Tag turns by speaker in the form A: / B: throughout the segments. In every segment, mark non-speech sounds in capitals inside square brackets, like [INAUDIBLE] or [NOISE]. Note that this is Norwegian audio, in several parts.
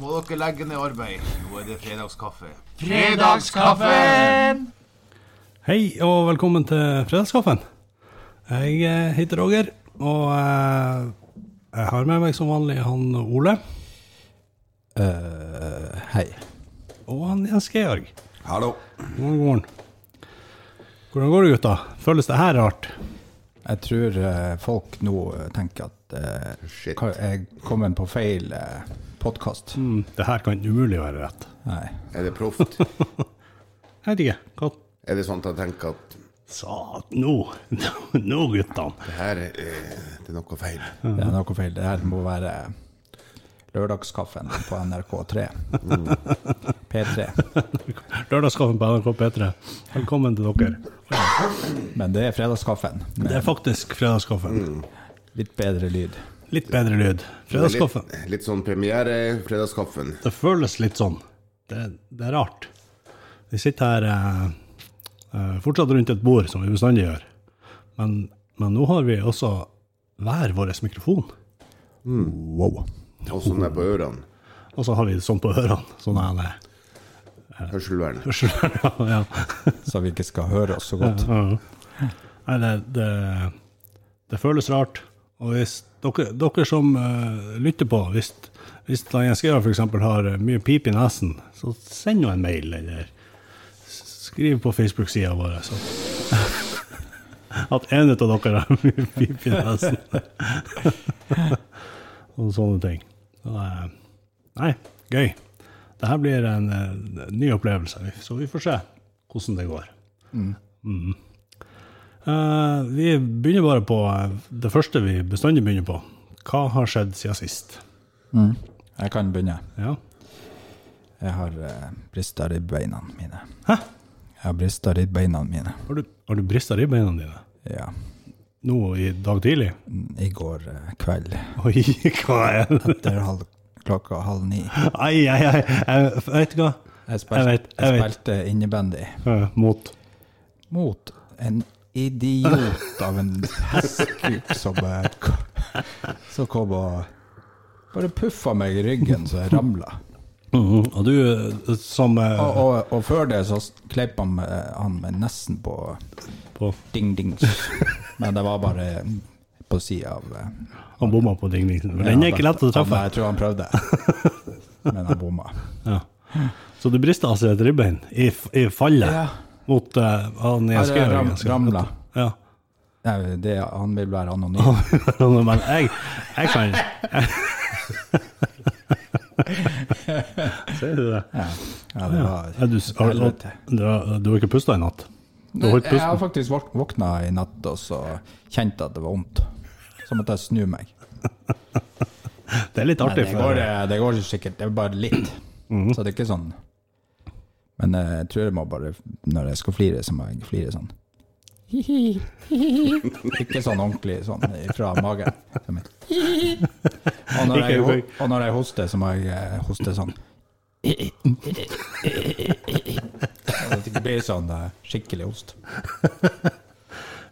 A: må dere legge ned arbeid. Nå er det fredagskaffe.
B: Fredagskaffen!
C: Hei og velkommen til Fredagskaffen. Jeg eh, heter Roger, og eh, jeg har med meg som vanlig han Ole
D: Hei.
C: og han Jens Georg.
E: Hallo.
C: God morgen. Hvordan går det, gutta? Føles det her rart?
D: Jeg tror eh, folk nå eh, tenker at eh,
E: Shit.
D: ka- jeg kom inn på feil uh, podkast.
C: Mm, det her kan umulig være rett.
D: Nei.
E: Er det proft? [LAUGHS]
C: Jeg vet ikke. Hva
E: er det sånn at jeg tenker at
C: Sat, nå, [LAUGHS] nå guttene.
E: det her er, det er noe feil?
D: Det er noe feil. Det her må være lørdagskaffen på NRK3.
C: Mm.
D: P3.
C: Lørdagskaffen på NRK P3. Velkommen til dere.
D: Men det er fredagskaffen.
C: Det er faktisk Fredagskaffen.
D: Litt bedre lyd.
C: Litt bedre lyd. Fredagskaffen.
E: Mm. Litt, litt sånn premiere, fredagskaffen.
C: Det føles litt sånn. Det, det er rart. Vi sitter her eh, eh, fortsatt rundt et bord, som vi bestandig gjør. Men, men nå har vi også hver vår mikrofon.
D: Wow.
E: Og sånn der på ørene.
C: Og så har vi det sånn på ørene. Sånn er det. [LAUGHS]
E: Hørselvern.
C: ja.
D: Så vi ikke skal høre oss så godt.
C: Nei, det, det, det føles rart. Og hvis dere, dere som eh, lytter på, hvis, hvis da Jens Georg f.eks. har eh, mye pip i nesen, så send nå en mail, eller s- skriv på Facebook-sida vår så. [LAUGHS] at en av dere har mye pip i nesen. [LAUGHS] og sånne ting. Så, eh, nei, gøy. Dette blir en eh, ny opplevelse, så vi får se hvordan det går. Eh, vi begynner bare på eh, det første vi bestandig begynner på. Hva har skjedd siden sist?
D: Jeg kan begynne.
C: Ja.
D: Jeg har uh, brista ribbeina mine. Jeg har brista ribbeina mine.
C: Har du, har du brista ribbeina dine?
D: Ja.
C: Nå i dag tidlig? [LAUGHS]
D: I går eh, kveld.
C: Oi, hva er det?
D: Etter halv, klokka halv ni.
C: Ai, ai, ai. Jeg vet du hva.
D: Jeg
C: Jeg
D: spilte,
C: vet, jeg
D: jeg
C: vet.
D: spilte innebandy
C: Eh, mot.
D: mot en idiot av en hestkuk som, eh, k- som kom og bare puffa meg i ryggen så jeg ramla.
C: Og du eh, som eh,
D: Og, og, og før det så s- kleip han, med- han meg nesten på
C: på,
D: ding-dings. Men det var bare på sida av eh,
C: Han bomma på Ding Ding. Men Den er ikke lett å treffe.
D: Han, jeg tror han prøvde, men han bomma.
C: Ja. Så du brista altså et ribbein i, f- i fallet
D: Ja.
C: mot eh, han
D: Ja,
C: Jens
D: det ram-
C: Georg?
D: ramla.
C: Ja.
D: Nei, det, han vil være anonym.
C: [LAUGHS] Men jeg, jeg kan Ser du det?
D: Ja, ja det var
C: Ja, du, har, du,
D: Helvete.
C: du, har, du har ikke pusta i natt? Du har holdt
D: Eh, Jeg har
C: pusten?
D: faktisk våk- våkna i natt og så kjente at det var vondt. Så måtte jeg snu meg.
C: Det Mhm. er litt
D: Men
C: artig.
D: det
C: For,
D: går, eh, det går sikkert. Det er bare litt. Så det er ikke sånn. Men eh, jeg tror jeg må bare Når jeg skal flire, så må jeg flire
C: [LAUGHS]
D: sånn. Ikke sånn ordentlig sånn fra magen. Som et Og når jeg, ho- og når jeg hoster, så må jeg eh,
C: [LAUGHS]
D: hoste sånn. Så det ikke blir sånn eh, skikkelig host.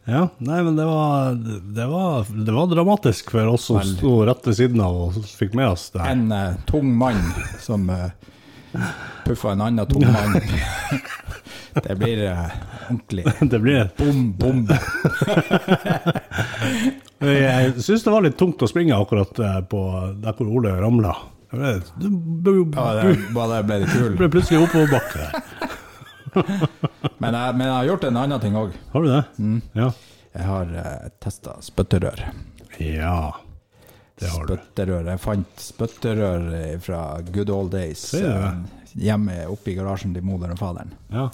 C: ja, nei, men det var, det, var, det var dramatisk for oss som
D: Veldig.
C: sto rett ved siden av og fikk med oss det her.
D: en eh, tung mann som uh, puffa en annen tung
C: [LAUGHS]
D: mann. det blir eh, ordentlig
C: Det blir,
D: bom, bombe.
C: jeg syns det var litt tungt å springe akkurat eh, på der hvor Ole ramla. Det ble, det
D: Ja,
C: ble,
D: det, bare det ble litt
C: det
D: kul.
C: ble plutselig oppoverbakke der.
D: Men jeg, men jeg har gjort en annen ting òg.
C: Har du det?
D: Mm.
C: Ja.
D: Jeg har uh, testa spytterør.
C: ja. Det har du.
D: Spytterør. Jeg fant spytterør eh, fra good old days
C: Sier du det?
D: eh, hjemme oppe i garasjen til moderen og faderen.
C: Ja.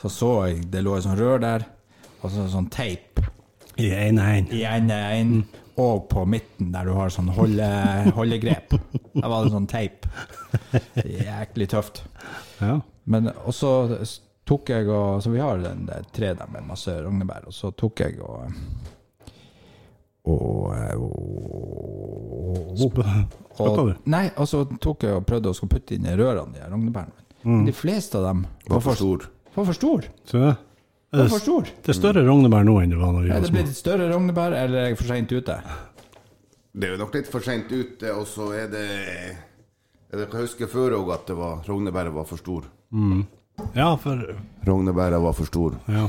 D: Så så jeg det lå et sånt rør der, og så sånn teip.
C: I en en.
D: i ene enden og på midten, der du har sånn holde, holdegrep. Der var det sånn teip. Jæklig tøft.
C: Ja.
D: Men og så s- tok jeg og Så vi har den der tre der med masse rognebær, og så tok jeg og og, og,
C: Oh. Spytta du?
D: Nei, og så tok jeg og prøvde å skulle putte inn i rørene de her rognebærene. Men de fleste av dem var
E: Var for stor.
D: var for stor.
C: Så det,
D: Var for stor.
C: det er større rognebær nå enn det var da vi
D: Er
C: var
D: det
C: små.
D: blitt større rognebær, eller er jeg for seint ute?
E: Det er jo nok litt for sent ute, og så er det Jeg kan huske før òg at det var rognebæret var for stor.
C: Ja, for
E: Rognebæret var for stor.
C: Ja.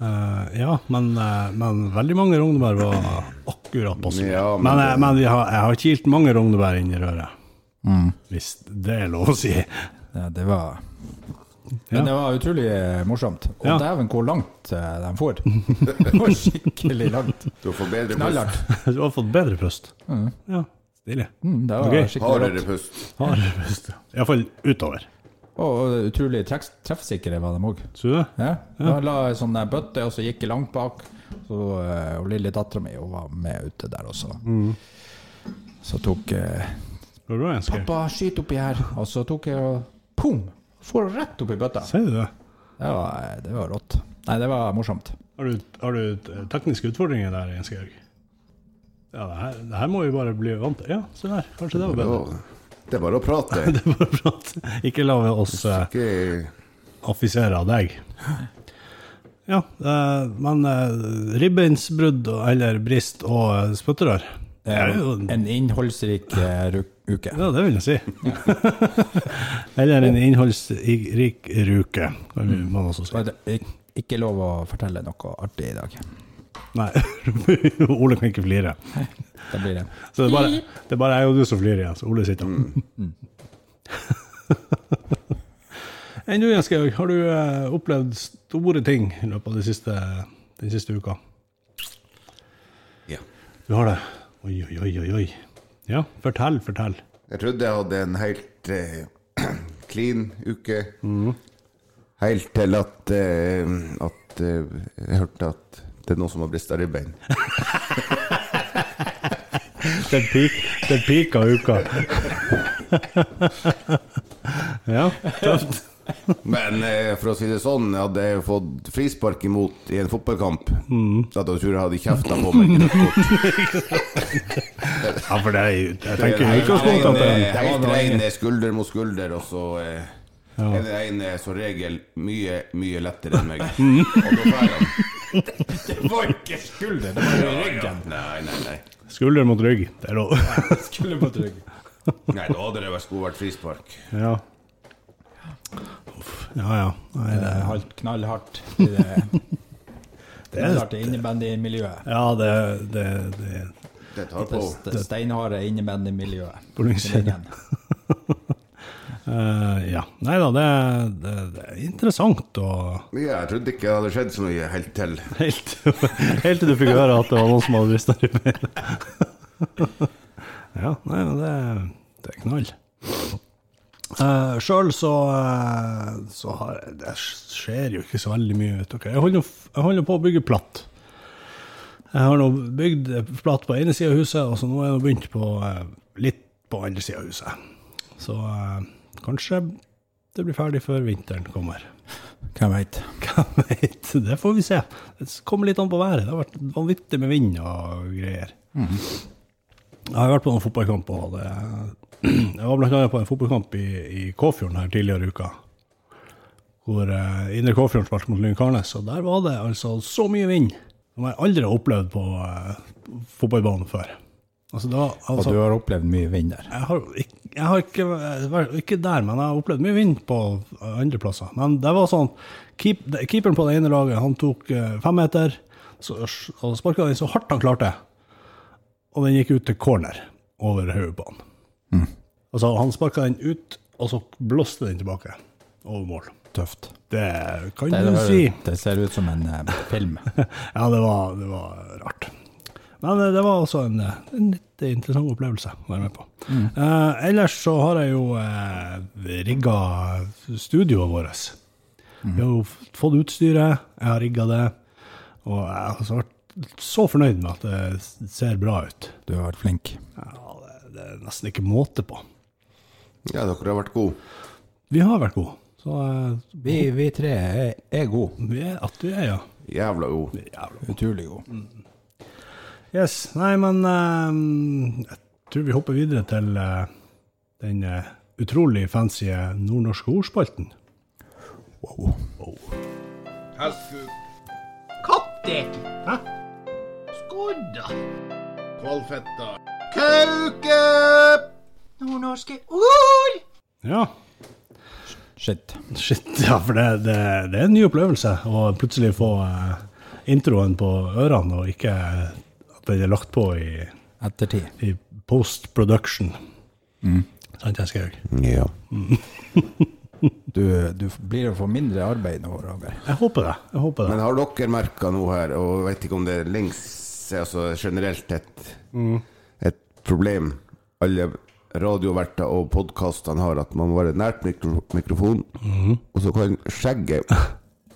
C: Eh, ja, men, eh, men veldig mange rognebær var akkurat passe.
E: Ja,
C: men
E: men
C: eh,
E: det-
C: men jeg, har, jeg har kilt mange rognebær inn i røret.
D: Mm.
C: Hvis det er lov å si. [LAUGHS]
D: Ja, det var
C: Ja.
D: Men det var utrolig eh, morsomt. Og
C: Ja.
D: dæven hvor langt eh, de
C: [LAUGHS]
D: får. Det var skikkelig langt.
E: Du får bedre pust.
D: Knallhardt.
C: Du har fått bedre pust. Ja, stilig.
D: Mm, Det var
C: Ok.
D: skikkelig
E: Hardere
D: rått.
E: pust.
C: Hardere pust. Iallfall utover.
D: Og og utrolig treffs- treffsikre var de òg.
C: Tror du det?
D: Ja. Jeg la ei sånn der bøtte, og så gikk jeg langt bak. Så, eh, og lille dattera mi var med ute der også.
C: Mm.
D: Så tok eh,
C: Går det bra, Jens Geir?
D: 'Pappa, skyt oppi her', og så tok jeg og pum! Får rett oppi bøtta.
C: Sier du det?
D: Det var, eh, det var rått. Nei, det var morsomt.
C: Har du, har du eh, tekniske utfordringer der, Jens Georg? Ja, det her, det her må vi bare bli vant til. Ja, se der. Kanskje det var bedre.
E: Ja, [LAUGHS] Det er bare å prate.
C: [LAUGHS] Det er bare prat. Ikke la oss eh,
E: Ikke
C: affisere av deg. Ja, eh, men eh, ribbeinsbrudd og- eller brist og eh, spytterør det er jo
D: En innholdsrik eh, ru- uke.
C: Ja, det vil jeg si. [LAUGHS] eller en innholdsrik ruke, kan vi- må man også si.
D: Så er det ik- ikke lov å fortelle noe artig i dag.
C: Nei, [LAUGHS] Ole kan ikke flire.
D: Det blir det.
C: Så det er bare, det er bare jeg og du som flirer igjen, så Ole sitter. [LAUGHS] Enn du, Jens Georg, har du eh, opplevd store ting i løpet av de siste, den siste uka?
E: Ja.
C: Du har det? Oi, oi, oi, oi, oi. Ja, fortell, fortell.
E: Jeg trodde jeg hadde en helt eh, [CLEARS THROAT] clean uke.
C: Mm.
E: Helt til at, eh, at eh, jeg hørte at det er noen som har brista
C: [LAUGHS]
E: ribbein.
C: Den, pik, den pika uka. [LAUGHS] ja, tøft.
E: Men eh, for å si det sånn, jeg hadde jeg fått frispark imot i en fotballkamp.
C: Mm.
E: Så at jeg tror jeg hadde kjefta på meg.
C: [LAUGHS] Ja, for det er jo- Jeg
E: Det
C: tenker
E: er
C: jo ikke å sponte på
E: en, eh,
C: den.
E: Helt rein eh, skulder mot skulder, og så eh, er den ene som regel mye, mye lettere
C: [LAUGHS]
E: enn meg. Og da får jeg den.
D: Det var ikke skulder, det var
E: Nei, nei, nei.
C: Skulder mot rygg, det er lov.
D: Skulle på trygg.
E: Nei, da hadde det vært skulle vært frispark.
C: Ja. Uff, ja, ja. Nei, det,
D: Halvt eh, knallhardt. i [LAUGHS] Det, det
C: er-
D: er innebandymiljøet.
C: ja, det, det, det
E: Det tar
D: Det
E: på.
D: st- steinharde innebandymiljøet.
C: På lyngsiden. eh, Ja. Nei da, det, det, det er interessant og
E: Ja, jeg trodde ikke det hadde skjedd så mye helt til.
C: [LAUGHS] Helt, helt til du fikk høre at det var noen som hadde rista ribbein. [LAUGHS] ja, nei, men det, det er knall. Uh, Sjøl så, eh, så har, det skjer jo ikke så veldig mye, vet dere. Jeg holder, jo f- jeg holder på å bygge platt. Jeg har nå bygd platt på ene sida av huset, og så nå er jeg nå begynt på eh, litt på andre sida av huset. Så eh, kanskje det blir ferdig før vinteren kommer.
D: Hvem veit.
C: Hvem vet? [LAUGHS] Det får vi se. Det kommer litt an på været. Det har vært vanvittig med vind og greier.
D: Mhm.
C: Jeg har vært på noen fotballkamp. Og det, [CLEARS THROAT] jeg var blant annet på en fotballkamp i, i Kåfjorden her tidligere i uka. Hvor eh, Indre Kåfjorden spilte mot Lynkarnes. Og der var det altså så mye vind som jeg aldri har opplevd på eh, fotballbanen før. Altså, det var,
D: Og
C: altså,
D: du har opplevd mye vind der.
C: jeg har, ikke, jeg har ikke vært ikke der, men jeg har opplevd mye vind på andre plasser. Men det var sånn keep, Keeperen på det ene laget han tok eh, femmeter så- og sparka den så hardt han klarte. Og den gikk ut til corner over hodet på han. Altså, han sparka den ut, og så blåste den tilbake over mål.
D: Tøft.
C: Det kan
D: Det,
C: du
D: var-
C: si.
D: det ser ut som en eh, film.
C: [LAUGHS] Ja, det var, det var rart. Men eh, det var altså en, eh, en litt interessant opplevelse å være med på. Eh, ellers så har jeg jo eh, rigga studioet vårt. Vi har jo f- fått utstyret, jeg har rigga det. Og jeg har altså vært så fornøyd med at det s- ser bra ut.
D: Du har vært flink.
C: Ja, det, det er nesten ikke måte på.
E: Ja, dere har vært gode.
C: Vi har vært gode. Så eh,
D: Vi, vi tre er, er gode.
C: vi er at vi er, ja.
E: Jævla gode.
C: Jævla.
D: Utrolig gode.
C: Yes. Nei, men eh, jeg tror vi hopper videre til eh, den eh, utrolig fancy eh, nordnorske ordspalten.
D: Wow.
A: Kattek.
C: Hæ?
A: Skodda.
E: Kvalfetta. Kauke!
A: Nordnorske ord!
C: Ja.
D: Shit.
C: Shit, ja, for det, det, det er en ny opplevelse å plutselig få eh, introen på ørene, og ikke eh, at den er lagt på i,
D: Ettertid.
C: i post production. Sant, jeg Skaug?
E: Ja.
D: Du, du blir jo for mindre arbeid nå, Roger.
C: Jeg håper det. jeg håper det.
E: Men har dere merka noe her, og vet ikke om det er lengs altså generelt et, et problem alle radioverter og podkastene har, at man må være nært mikro mikrofonen, og så kan skjegget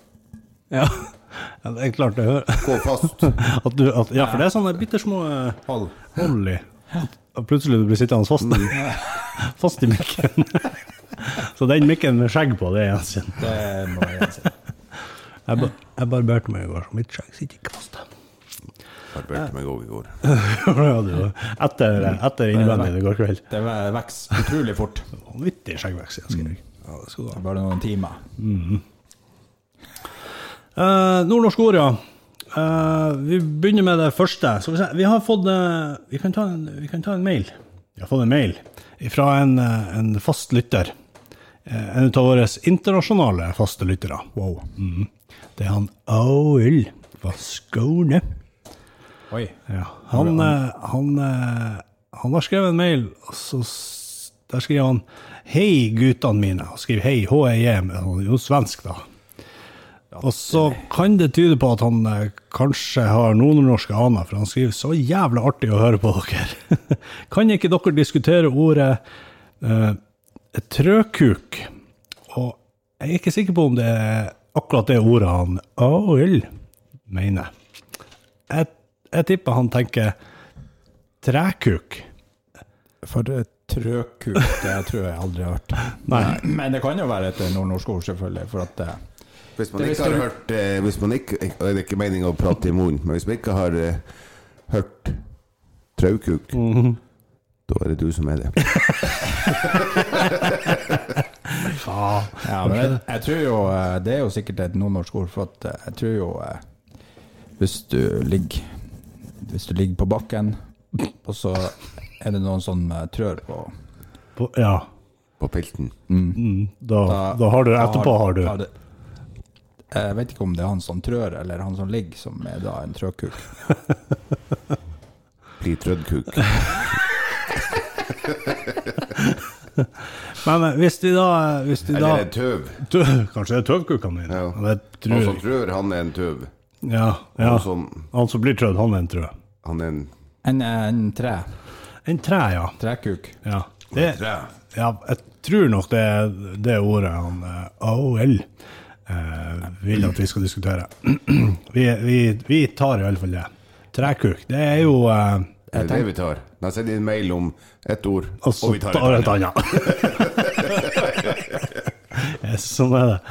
C: [LAUGHS] Ja, det er klart det hører
E: gå fast.
C: [LAUGHS] at du, at, Ja, for det er sånne bitte små
E: [LAUGHS]
C: eh,
E: Hold.
C: hold i. Og plutselig du blir sittende fast, [LAUGHS] fast i mikken. Så den mikken med skjegg på, det er Jens sin.
D: Det må jeg si.
C: Jeg, ba, jeg barberte meg i går, så mitt skjegg sitter ikke fast. [LAUGHS]
E: Barberte meg òg i går.
C: Ja, du, etter etter innblandingen i går kveld.
D: Det vokser utrolig fort.
C: Vanvittig skjeggvekst. jeg skal ikke. [LAUGHS] Ja, det skal du ha.
D: Bare noen timer.
C: Eh, Nordnorsk ord, ja. Eh, vi begynner med det første. Skal vi, se. vi har fått eh, vi, kan ta en, vi kan ta en mail. Vi har fått en mail fra en, eh, en fast lytter. Eh, en av våre internasjonale faste lyttere. Wow. Mm. Det er han Aul fra Skåne.
D: Oi.
C: Ja. Han, eh, han, eh, han har skrevet en mail, og så s- der skriver han 'Hei, guttene mine'. Han skriver 'Hei, HEJ', men han er jo svensk, da. Og så kan det tyde på at han eh, kanskje har nordnorske aner, for han skriver 'så jævla artig å høre på dere'. [LAUGHS] kan ikke dere diskutere ordet eh, trøkuk? Og jeg er ikke sikker på om det er akkurat det ordet han Aul mener jeg, jeg tipper han tenker trekuk.
D: For eh, trøkuk, det tror jeg aldri har hørt.
C: [LAUGHS] Nei.
D: Men det kan jo være et nordnorsk ord, selvfølgelig. For at eh,
E: Hvis man
D: Det
E: ikke
D: visste
E: har
D: du.
E: hørt eh, hvis man ikke, og Det er ikke meninga å prate i munnen, men hvis man ikke har eh, hørt traukuk, da er det du som er det.
C: Ja.
D: Ja, men jeg, jeg tror jo eh, Det er jo sikkert et nordnorsk ord, for at eh, jeg tror jo eh, Hvis du ligger Hvis du ligger på bakken, og så er det noen som eh, trør på
C: På, ja. Mm,
E: På pilten.
C: Da, da har du etterpå, har du.
D: da det- Jeg vet ikke om det er han som trør, eller han som ligger, som er da en trøkuk.
E: Bli trøddkuk.
C: Men eh, hvis de da, hvis de da
E: Eller en tøv.
C: Tø, Kanskje det er tøvkukene mine.
E: Ja.
C: Ja. Det
E: Han
C: tror
E: som
C: jeg.
E: tror han er en tøv.
C: Ja, ja.
E: Han som
C: Han som blir trødd, han er en trø.
E: Han er en
D: En, en tre.
C: En tre, ja.
D: Trekuk.
C: ja. Det,
E: tre.
C: ja jeg tror nok det er det ordet han eh, AOL eh, vil at vi skal diskutere. [CLEARS THROAT] vi, vi, vi tar iallfall det. Trekuk, det er jo eh,
E: Det er det vi tar. Da sender jeg en mail om ett ord,
C: Og så
E: og vi tar
C: tar
E: et
C: et
E: annet.
C: annet. [LAUGHS] yes, sånn er det. [LAUGHS]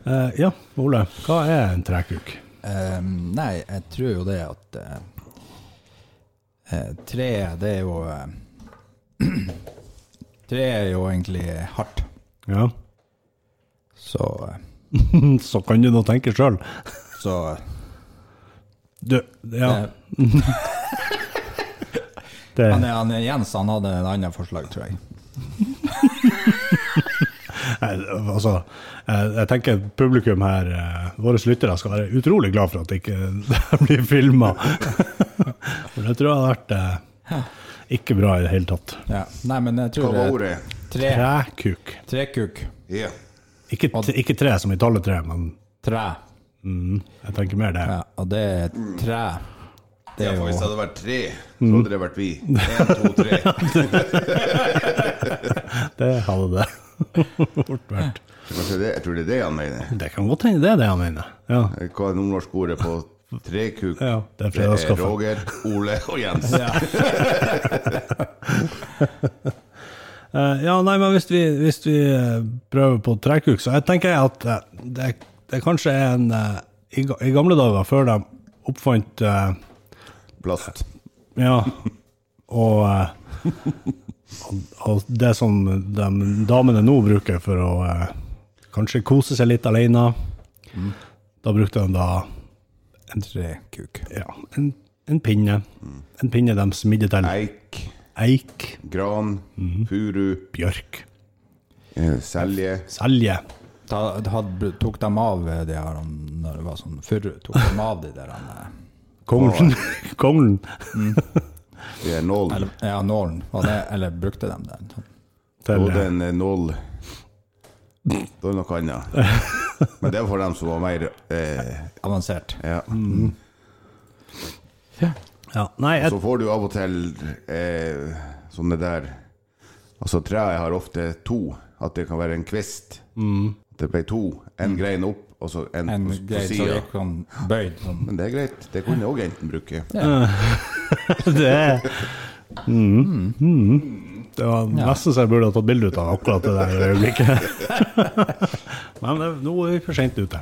C: Eh, ja, Ole, hva er en trekuk?
D: Eh, nei, jeg tror jo det at eh, eh, Tre, det er jo eh, [CLEARS THROAT] Tre er jo egentlig hardt.
C: Ja. [CLEARS THROAT]
D: Så, eh,
C: Så kan du nå tenke sjøl.
D: så
C: Du, ja,
D: eh,
C: det
D: han,
C: jeg,
D: er- han, er- Jens han hadde en annen forslag, tror jeg.
C: [LAUGHS] Altså, jeg, jeg tenker publikum her, eh, våre lyttere, skal være utrolig glad for at det ikke [LAUGHS] blir filma. [LAUGHS] For det tror jeg hadde vært eh, ikke bra i det hele tatt.
D: Ja. Nei, men jeg
E: Hva
D: tror
E: var
D: det
E: ordet?
D: tre,
C: Trekuk.
D: trekuk.
E: Ja.
C: Ikke, t- ikke tre som i tallet tre, men
D: Tre.
C: mm, jeg tenker mer det.
D: Ja, og det er tre. Det
E: Ja,
D: er
E: for hvis det
D: jo
E: hadde vært tre, så hadde det vært vi. En, to, tre.
C: Det hadde det [LAUGHS] fort vært.
E: Kanskje det- Jeg tror det er det han mener.
C: Det kan godt hende det er det han mener. Ja,
E: Hva Eh, er nordnorsk ordet på trekuk?
C: ja Det er
E: Det er
C: fredagskaffe.
E: Roger, Ole og
C: [LAUGHS]
E: Jens.
C: Eh, ja, nei, men hvis vi, hvis vi eh, prøver på trekuk, så jeg tenker jeg at eh, det, det kanskje er en eh, i, ga- I gamle dager, før de oppfant eh,
E: Plast.
C: Ja, og, eh, og, og det som de damene nå bruker for å eh, kanskje kose seg litt alene, da brukte de da
D: en trekuk.
C: ja, en, en pinne. En pinne de smidde til.
E: Eik.
C: eik,
E: Gran,
C: Mhm.
E: furu,
C: bjørk,
E: eh, selje.
C: selje.
D: Ta, had, tok de av de her når det var sånn furu? Tok de av de der eh, han,
C: Konglen. [LAUGHS] Konglen.
E: Det er nål.
D: eller, Ja, nålen. Var det, eller brukte de den? sånn
C: Til,
E: Og den er eh, nål. Da er det noe
C: [LAUGHS]
E: annet. Men det er for dem som var mer eh,
D: Avansert.
E: Ja. Mm.
C: ja. Nei, Mm. jeg,
E: Så får du av og til eh, sånne der Altså, treet har ofte to. At det kan være en kvist.
C: Mm.
E: At det ble to. En grein opp, og så en,
D: En
E: på, på
D: greie så
E: sida.
D: gikk han bøyd sånn.
E: Men det er greit. Det kunne jeg òg enten bruke. Altså.
C: det er mm. Det var nesten så jeg burde ha tatt bilde ut av akkurat det der
E: [LAUGHS]
C: øyeblikket. Men det, nå er vi for seint ute.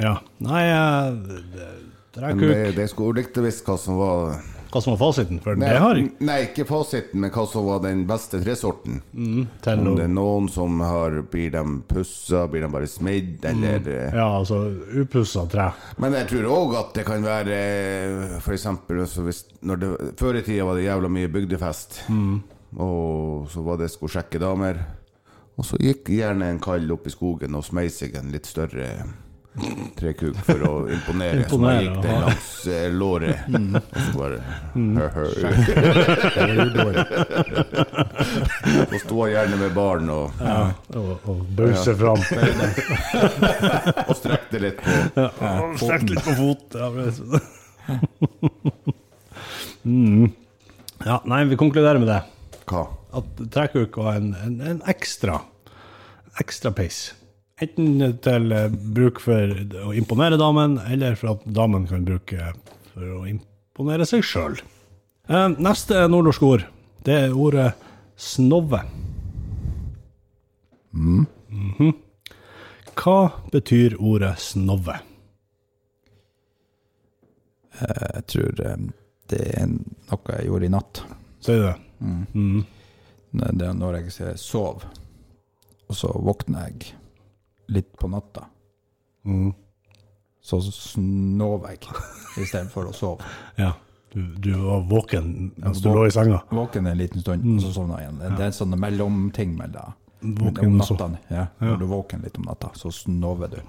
C: Ja. Nei,
E: Mm.
C: eh,
E: Men
C: drekk
E: det,
C: ut
E: det skulle likte visst hva som var
C: hva som var fasiten, for det har jeg
E: Nei, ikke fasiten, men hva som var den beste tresorten.
C: til
E: Om
C: å
E: det er noen som har Blir de pussa, blir de bare smidd,
C: Mm.
E: eller eh,
C: Ja, altså upussa tre.
E: Men jeg tror òg at det kan være eh, For eksempel altså hvis, når det, Før i tida var det jævla mye bygdefest. Og så var det skulle sjekke damer. Og så gikk gjerne en kall opp i skogen og smei seg en litt større trekuk for
C: [LAUGHS]
E: å imponere. så man
C: Imponere,
E: gikk den
C: ja. Mm.
E: langs eh,
C: [LAUGHS]
E: låret. Og så bare hør, hør. [LAUGHS] Og sto han gjerne med barn og,
C: Og, og bause fram.
E: og strekte litt på.
C: Og Strekk litt på fot. Ja, men- [LAUGHS] mm. ja, nei, vi konkluderer med det.
E: Hva?
C: at trekuk var en, en, en ekstra ekstra piss. Enten til eh, bruk for å imponere damen, eller for at damen kan bruke for å imponere seg sjøl. Neste nordnorsk ord, det er ordet snove. Mhm. Hva betyr ordet snove?
D: Jeg tror eh, det er noe jeg gjorde i natt.
C: Sier du det? Mm.
D: Når- Det er når jeg sov, og så våkner jeg litt på natta.
C: Mm.
D: Så snov jeg istedenfor å sove.
C: Ja. Du, du var våken mens du lå i senga?
D: Våken en liten stund, og så sovner jeg igjen. Det- Det er en sånn mellomting mellom
C: Våken
D: om
C: og sov.
D: natta. Ja. Når du er våken litt om natta, så snover du.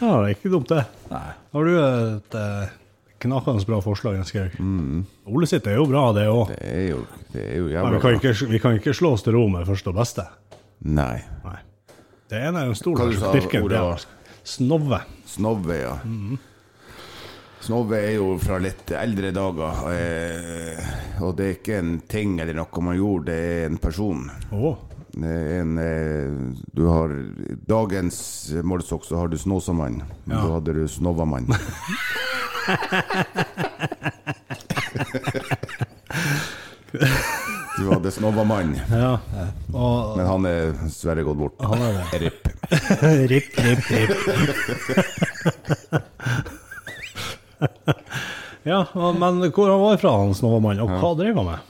C: Ja, det er ikke dumt, det.
D: Nei.
C: Har du et eh, knakende bra forslag, Jens Georg? Ole sitt er jo bra, Mm. det òg.
E: Det er jo, det er jo
C: Men
E: jævla
C: vi
E: bra.
C: kan, ikke, vi kan ikke slå oss til ro med første og beste.
E: Nei.
C: Nei. Det ene er jo en stor
E: Hva du sa
C: dyrke.
E: ordet
C: det er
E: var?
C: Snove.
E: Snobbe, ja. Snobbe er jo fra litt eldre dager, eh, og det er ikke en ting eller noe man gjorde, det er en person.
C: Å,
E: Det er En, eh, du har i dagens målestokk, så har du Snåsamann. Men Da hadde du
C: [LAUGHS]
E: Snovamann. Du hadde Snovamann,
C: ja. Og
E: men han er dessverre gått bort.
C: han er det.
E: Ripp.
C: Ripp, ripp, ripp. [LAUGHS] ja, og- men hvor han var fra, han Snovemann, og hva drev han med?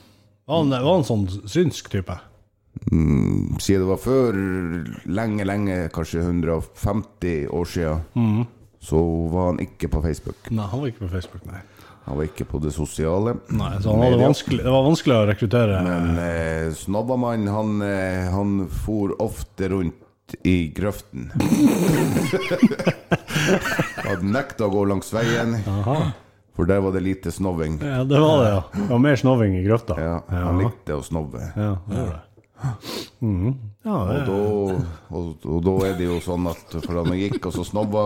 C: Var han, var han sånn synsk type?
E: siden det var før lenge, lenge, kanskje 150 år siden,
C: Mhm.
E: så var han ikke på Facebook.
C: Nei, han var ikke på Facebook, nei.
E: Han var ikke på det sosiale.
C: nei så han hadde
E: Media.
C: vanskelig, det var vanskelig å rekruttere.
E: Men eh, Snobbamann, han, eh, han for ofte rundt i
C: [LAUGHS]
E: grøften. han nekta å gå langs veien, for der var det lite snobbing.
C: Ja, det var det, ja. Det var mer snoving i grøfta.
E: Ja, han likte å snobbe.
C: Ja, det var det. Ja, det
E: Og da, og, og da er det jo sånn at for han gikk, og så snobba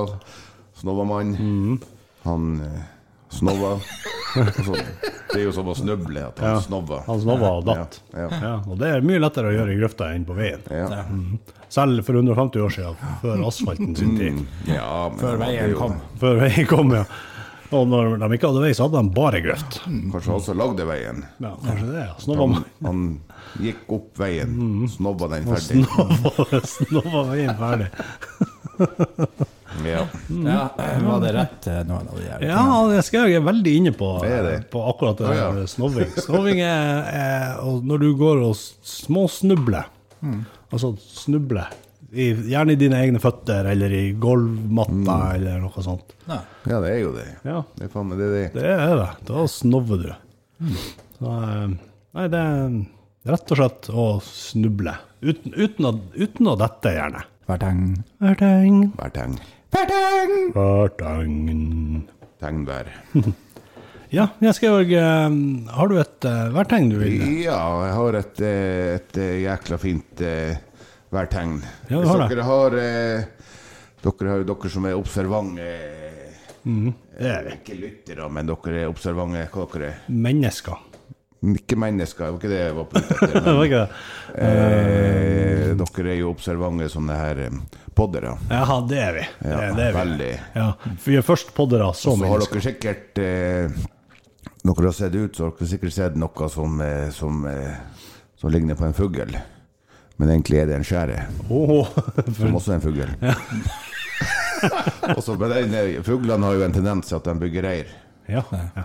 E: Snobba man. Han eh, snobba. Og så, det er jo som å snuble at han snobba.
C: han snobba og datt.
E: Ja, ja.
C: Ja, og det er mye lettere å gjøre i grøfta enn på veien.
E: Ja,
C: Selv for 150 år siden, før asfalten sin
E: Mm.
C: tid.
E: ja men
D: Før
E: han hadde
D: veien
E: jo-
D: kom.
C: Før [LAUGHS] veien kom, ja. Og når de ikke hadde vei, så hadde de bare grøft.
E: Kanskje han som lagde veien.
C: Ja, kanskje det, ja. Snobba
E: [LAUGHS] Han, han gikk opp veien, snobba den
C: [LAUGHS]
E: ferdig.
C: snobba- snobba veien ferdig.
E: Ja.
D: Ja, var det rett, eh, noen av de her?
C: Ja, jeg skal jeg er veldig inne på,
E: Det er det.
C: på akkurat det
E: Ja, ja.
C: der snoving. Snoving er, er og når du går og s- småsnubler,
E: Mm.
C: altså snubler, i, gjerne i dine egne føtter eller i gulvmatta eller noe sånt.
D: tingene?
E: Mm. ja, det er jo det.
C: Ja,
E: Det er faen meg det det er.
C: det er det. Da snover du. Så eh, nei, det er rett og slett å snuble. Uten, uten, å, uten å dette, gjerne.
D: Hverteng.
C: Hverteng.
E: Hver tegn.
D: Hverteng!
C: Hvertengen.
E: Tegn hver.
C: Ja, Jens Georg, eh, har du et eh, værtegn du vil?
E: Ja, jeg har et, eh, et eh, jækla fint eh, værtegn.
C: Ja, du
E: Hvis
C: har det.
E: dere har eh, Dere har jo dere som er observante
C: Mm-hmm.
E: eh,
C: Det er
E: Ikke lyttere, men dere er observante. Hva dere er?
C: mennesker.
E: Ikke mennesker, det var ikke det jeg var på ute
C: [LAUGHS]
E: etter.
C: Det
E: Men,
C: var ikke det?
E: eh, dere er jo observante sånne her eh, poddere.
C: Ja, det er vi. Det,
E: Ja,
C: det er vi.
E: veldig.
C: Ja, vi er først poddere, så
E: Så har dere
C: mennesker.
E: sikkert eh, Dere har sett ut, så har dere sikkert sett noe som, eh, som, eh, som ligner på en fugl. Men egentlig er det en skjære,
C: Åh,
E: som også er en fugl. [LAUGHS] Og så- men den, eh, Fuglene har jo en tendens til at de bygger reir.
C: [LAUGHS] ja, ja.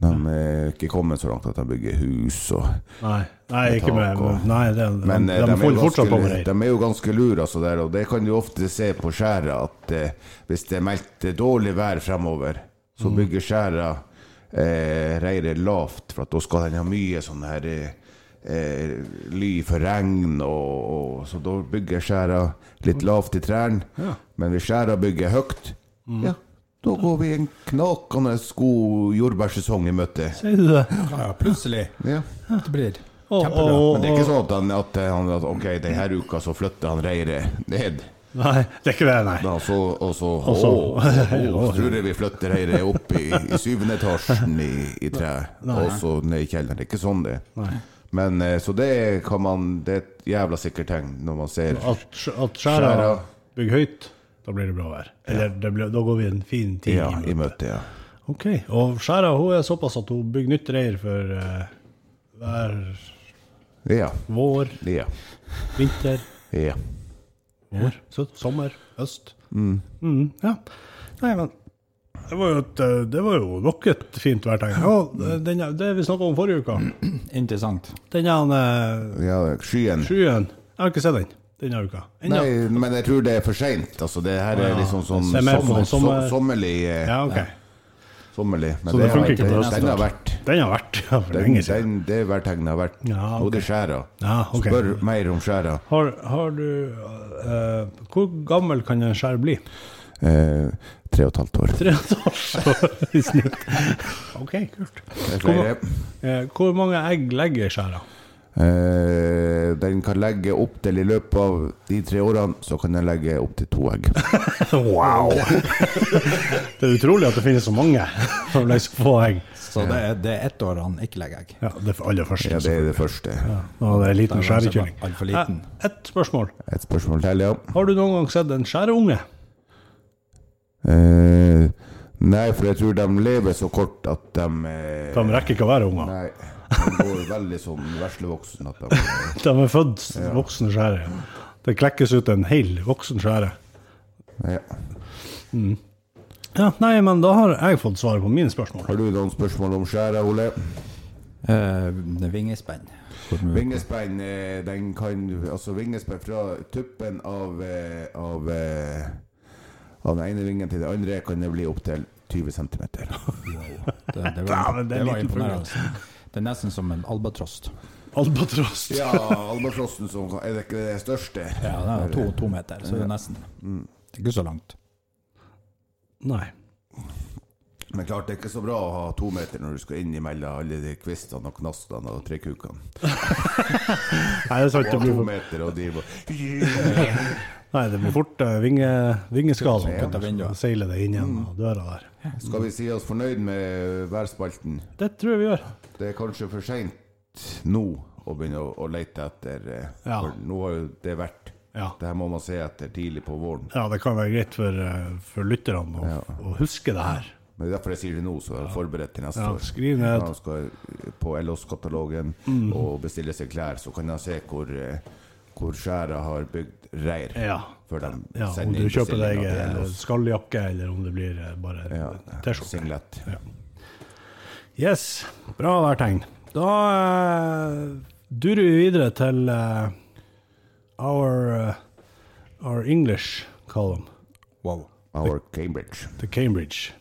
E: De er ikke kommet så langt at de bygger hus og
C: Nei, nei ikke
E: tak
C: med
E: og-
C: Nei, det,
E: Men
C: de,
E: eh,
C: de,
E: de, er
C: får
E: jo
C: fortsatt på med
E: ganske,
C: reir.
E: de er jo ganske lure, altså der, og det kan du ofte se på skjæra at eh, hvis det er meldt dårlig vær fremover,
C: Mm.
E: så bygger skjæra eh, reiret lavt, for at da skal den ha mye sånn her eh, eh, ly for regn, og, og, så da bygger skjæra litt lavt i trærne. Men hvis skjæra bygger høyt,
C: Mm.
E: ja, da går vi en knakende god jordbærsesong i møte.
C: Sier du det?
D: Ja, ja, plutselig.
E: Ja.
D: Det blir
C: Og,
D: kjempebra.
E: Men
C: og,
E: det er ikke
C: og,
E: sånn at, han, at, han, at ok, denne uka så flytter han reiret ned.
C: nei, det er ikke det, nei.
E: Da, så, og så,
C: så-
E: å, å, å, tror jeg vi flytter reiret opp i, i syvende etasjen i, i treet, og så ned i kjelleren. Det er ikke sånn det er. Men, eh, så det, kan man, det er et jævla sikkert tegn når man ser
C: At, at skjæra
E: Skjæra.
C: bygger høyt, da blir det bra vær. Eller det blir, da går vi en fin tid
E: ja, i
C: i møte.
E: møte. Ja.
C: Ok, og skjæra hun er såpass at hun bygger nytt reir for eh, hver
E: Ja,
C: vår,
E: ja,
C: vinter,
E: ja.
C: vår, sø- sommer, høst. Mm, ja. Nei, men det var jo, et, eh, det var jo nok et fint værtegn. Ja, eh, den, det vi snakka om forrige uka,
D: Interessant.
C: den her, eh,
E: ja skyen.
C: skyen Jeg har ikke sett den denne uka. Ennå.
E: Nei, men jeg tror det er for seint. Altså, det her er liksom sånn
C: Se mer på
E: sommer,
C: den sommer-
E: som- sommerlig. eh,
C: Ja, ok.
E: sommerlig. Men
C: Så det
E: har
C: funker ikke
E: jeg-
C: på
E: Den har vært
C: Den har vært ja, for
E: Den,
C: lenge siden.
E: den, det værtegnet har vært
C: Ja, ok.
E: Nå er det skjæra.
C: Ja, ok.
E: Spør mer om skjæra.
C: Har, har du eh, Hvor gammel kan en skjær bli?
E: Eh, tre og et halvt år.
C: [LAUGHS] Tre og et halvt år [LAUGHS] i snitt. OK, kult.
E: Det er
C: Hvor,
E: flere.
C: ma- eh, hvor mange egg legger skjæra?
E: Eh, den kan legge opp til i løpet av de tre årene, så kan den legge opp til to
C: [LAUGHS]
E: egg.
C: [LAUGHS] Wow! [LAUGHS] det er utrolig at det finnes så mange [LAUGHS] som legger så få egg.
D: Så det er, det er ett år han ikke legger egg.
C: Ja, det er aller første.
E: Ja, det altså, er det første.
C: Nå er det en liten
D: Da er det
C: skjærekylling.
D: altfor liten.
C: Eh, Ett spørsmål.
E: Et spørsmål til, ja.
C: Har du noen gang sett en skjæreunge?
E: Eh, nei, for jeg tror de lever så kort at de eh,
C: De rekker ikke å være unger.
E: Nei. De går veldig sånn veslevoksen at
C: [LAUGHS]
E: de
C: De er født voksne skjære. Det klekkes ut en hel voksen skjære.
E: eh, ja.
C: Ja, nei, men da har jeg fått svaret på mine spørsmål.
E: Har du noen spørsmål om skjæra, Ole?
D: Eh, vingespenn.
C: Mm.
E: Vingespenn, eh, den kan Altså vingespenn fra tuppen av eh, Av, eh, av den ene vingen til den andre kan det bli opptil 20 cm.
C: [LAUGHS]
D: Det, det [LAUGHS]
C: Ja,
D: var,
C: men det
D: det
C: er en
D: var
C: liten fugl,
D: imponerende. Det er nesten som en albatross.
C: Albatross.
E: Ja, albatrossen som kan- Er det ikke det største?
D: Ja, den er to, to meter, så det Mm. er nesten. Det er ikke så langt.
C: Nei.
E: Men klart det er ikke så bra å ha to meter når du skal inn imellom alle de kvistene og knastene og trekukene.
C: Nei, det er sant.
E: Og
C: Det blir
E: to
C: fort,
E: meter og drive og
C: nei, det blir fort eh, vinge, vingeskader.
D: Kutt av vinduet.
C: Så Seiler det inn
E: Mm.
C: gjennom døra der.
E: Skal vi si oss fornøyd med værspalten?
C: Det tror jeg vi gjør.
E: Det er kanskje for seint nå å begynne å, å lete etter eh,
C: Ja.
E: For nå har jo det vært
C: Ja.
E: Det her må man se etter tidlig på våren.
C: Ja, det kan være greit for, eh, for lytterne å, å huske det her.
E: Men det er derfor jeg sier det nå, så er jeg forberedt til neste
C: Ja,
E: år.
C: skriv ned. Mm.
E: Når han skal eh, på LOS-katalogen og bestille seg klær, så kan han se hvor, eh, hvor skjæra har bygd reir.
C: Ja.
E: Før de
C: ja om
E: sender
C: du
E: inn
C: kjøper deg
E: bestillinga
C: eh,
E: til LOS.
C: skalljakke, eller om det blir eh, bare
E: Ja,
C: T-skjorte.
E: singlet.
C: Yes. Bra værtegn. Da eh, durer vi videre til eh, our, eh, our English column
D: Wow.
E: Our Cambridge.
C: til Cambridge.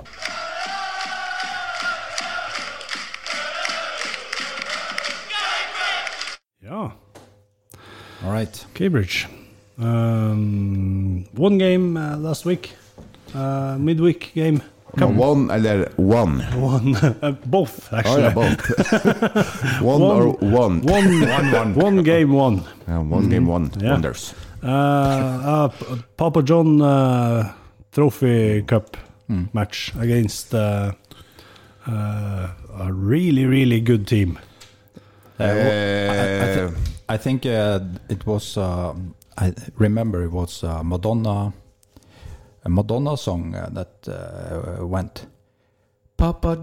D: All right.
C: Cambridge. Um, one game uh, last week. Uh, midweek game. [LAUGHS]
E: One eller one?
C: One. uh, both,
E: Oh,
C: actually.
E: yeah, both.
C: [LAUGHS]
E: one, or one?
C: One, one game, one.
E: Yeah, one game, one.
C: Yeah.
E: Wonders.
C: Uh, uh, Papa John uh, Trophy Cup match against uh, uh, a really, really good team. Eh,
E: Eh,
D: Eh, I think uh, it was uh, I remember it was uh, Madonna a Madonna song uh, that uh, went Papa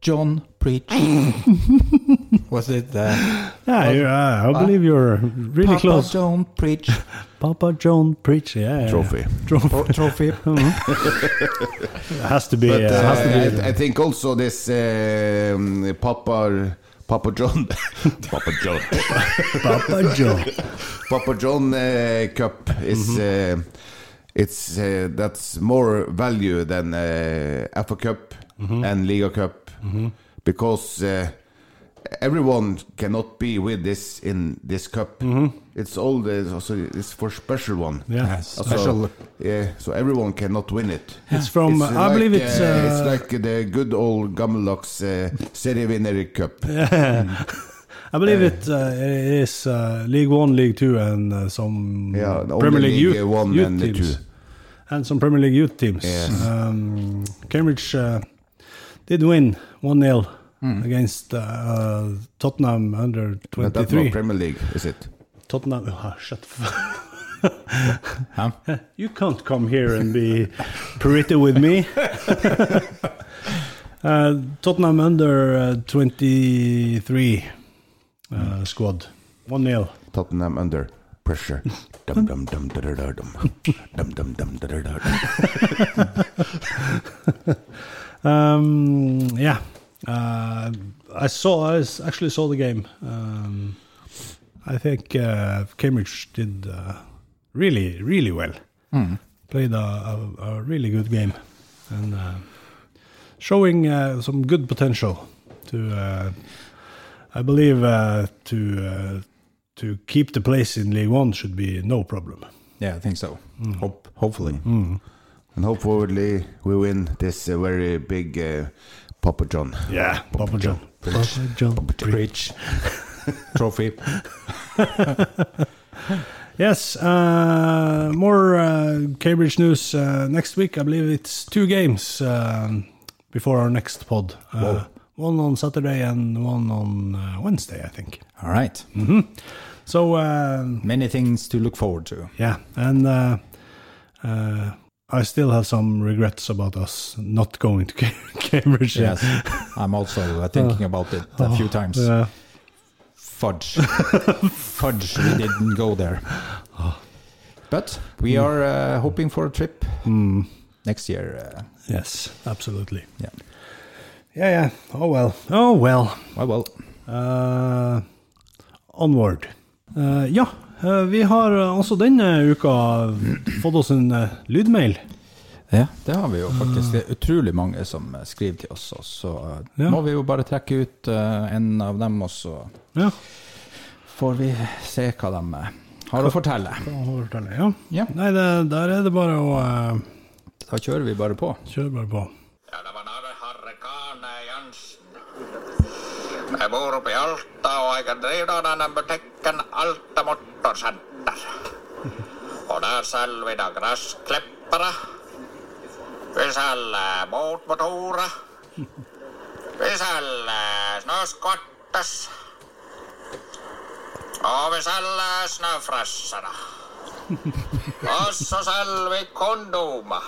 D: John [LAUGHS] preach was it uh,
C: Yeah, you, uh, I believe you're really
D: Papa
C: close.
D: John preach
C: Papa John Preach, yeah. yeah.
E: Trophy.
C: Trophy.
D: tro-
C: [LAUGHS]
D: trophy
C: It has to be.
E: But
C: uh, has to be
E: uh, I, I think also this um, Papa Papa John [LAUGHS] Papa John uh,
C: Papa
E: [LAUGHS]
C: John.
E: Papa John uh, Cup is
C: Mhm.
E: uh, it's uh, that's more value than uh, FA Cup
C: Mhm.
E: and Liga Cup because uh, everyone cannot be with this in this cup. It's all the also it's for special one.
C: Mhm. Yeah.
E: Also, yeah, so everyone cannot win it.
C: It's from,
E: It's
C: I
E: like,
C: believe it's,
E: uh,
C: uh,
E: it's like the good old Gammeldags uh, serievinner cup.
C: [LAUGHS] I believe it, uh, it is uh, League One, League Two, and uh, some
E: Yeah, only
C: Premier League,
E: League
C: youth,
E: One
C: youth
E: and the
C: teams,
E: two.
C: and some Premier League youth teams.
E: Yes.
C: Um, Cambridge uh, did win one 0
E: Hmm.
C: against uh, uh, Tottenham under
E: But that's not
C: twenty-three.
E: Premier League, is it?
C: Tottenham, Ah, shut the f-
D: huh?
C: You can't come here and be pretty with me. uh, Tottenham under uh, twenty-three uh, squad, one 0
E: Tottenham under pressure. Dum dum dum da da da dum. Dum dum dum da da da dum.
C: Um, yeah, uh, I saw. I s- actually saw the game. Um, I think uh, Cambridge did uh, really, really well. Hmm. Played a, a, a really good game and uh, showing uh, some good potential to, uh, I believe, uh, to uh, to keep the place in League One should be no problem.
D: [LAUGHS] yeah I think so
C: Mm.
D: Hope, hopefully
E: And hopefully we win this uh, very big uh, Papa John.
C: Yeah, Papa John. Papa John.
D: preach trophy
C: Yes, uh, more uh, Cambridge news uh, next week. I believe it's two games um, before our next pod. Uh, one on Saturday and one on uh, Wednesday, I think.
D: all right
C: Mm. So, um,
D: many things to look forward to
C: yeah, and uh, uh, I still have some regrets about us not going to [LAUGHS] Cambridge.
D: yes I'm also
C: [LAUGHS]
D: uh, thinking about it a few times
C: Oh, Yeah. [LAUGHS]
D: fudge. fudge, we didn't go there.
C: Oh.
D: But we
C: Mm.
D: are uh, hoping for a trip next year. Uh,
C: yes, absolutely.
D: yeah.
C: Yeah, yeah. Oh, well. Oh, well.
D: Well, well.
C: Eh, onward. Eh, ja, eh, vi har eh, også denne uka fått oss en eh, lydmail.
D: Ja, det har vi jo faktisk. Det er utrolig mange som eh, skriver til oss, og så eh,
C: Ja.
D: må vi jo bare trekke ut eh, en av dem, og så
C: Ja.
D: får vi se hva de eh, har å fortelle.
C: da må vi fortelle, ja.
D: Ja.
C: Nei, det, der er det bare å eh,
D: Da kjører vi bare på.
C: kjøre bare på.
B: Jalvanare harrekaane Jansen. Me vuoropi altaa aika riidonana tekken alta motton santtar. Ona salvina gras kleppara. Visällä muut motuura. Visällä snoskottas. Ovisällä snöfrassana. Osso salvi konduma.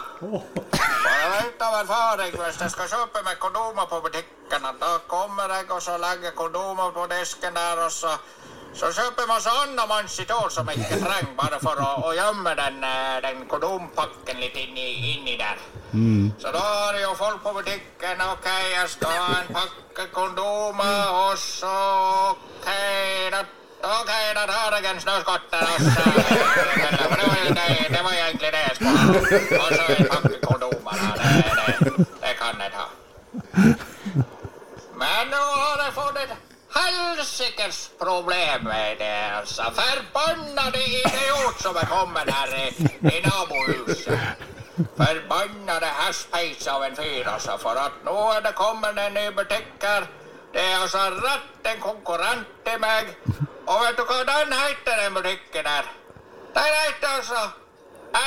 B: Bara vänta med faringvärst, jag ska köpa med kondomer på butikerna. Då kommer jag och så lägger kondomer på disken där och så, så köper man så annan mansidol som inte träng bara för att och gömma den, eh, den kondompacken lite in i, in i där. Så då har ju folk på butiken, okej jag ska ha en packe kondomer och så okej då Okej, då tar jag en snöskotte och så... Det var ju det, det var egentligen det jag skulle ha. Och så en packe kondomer. ja, Det, det, det kan jag ta. Men nu har jag fått ett halvt helsikes problem er det, altså. Forbannede idiot som er kommet her i, i nabohuset. Forbannede hespeis av en fyr, altså. For at nå er det kommet en ny butikk her. Det er altså rett en konkurrent til meg. Og vet du hva den heter, den butikken her? Den heter altså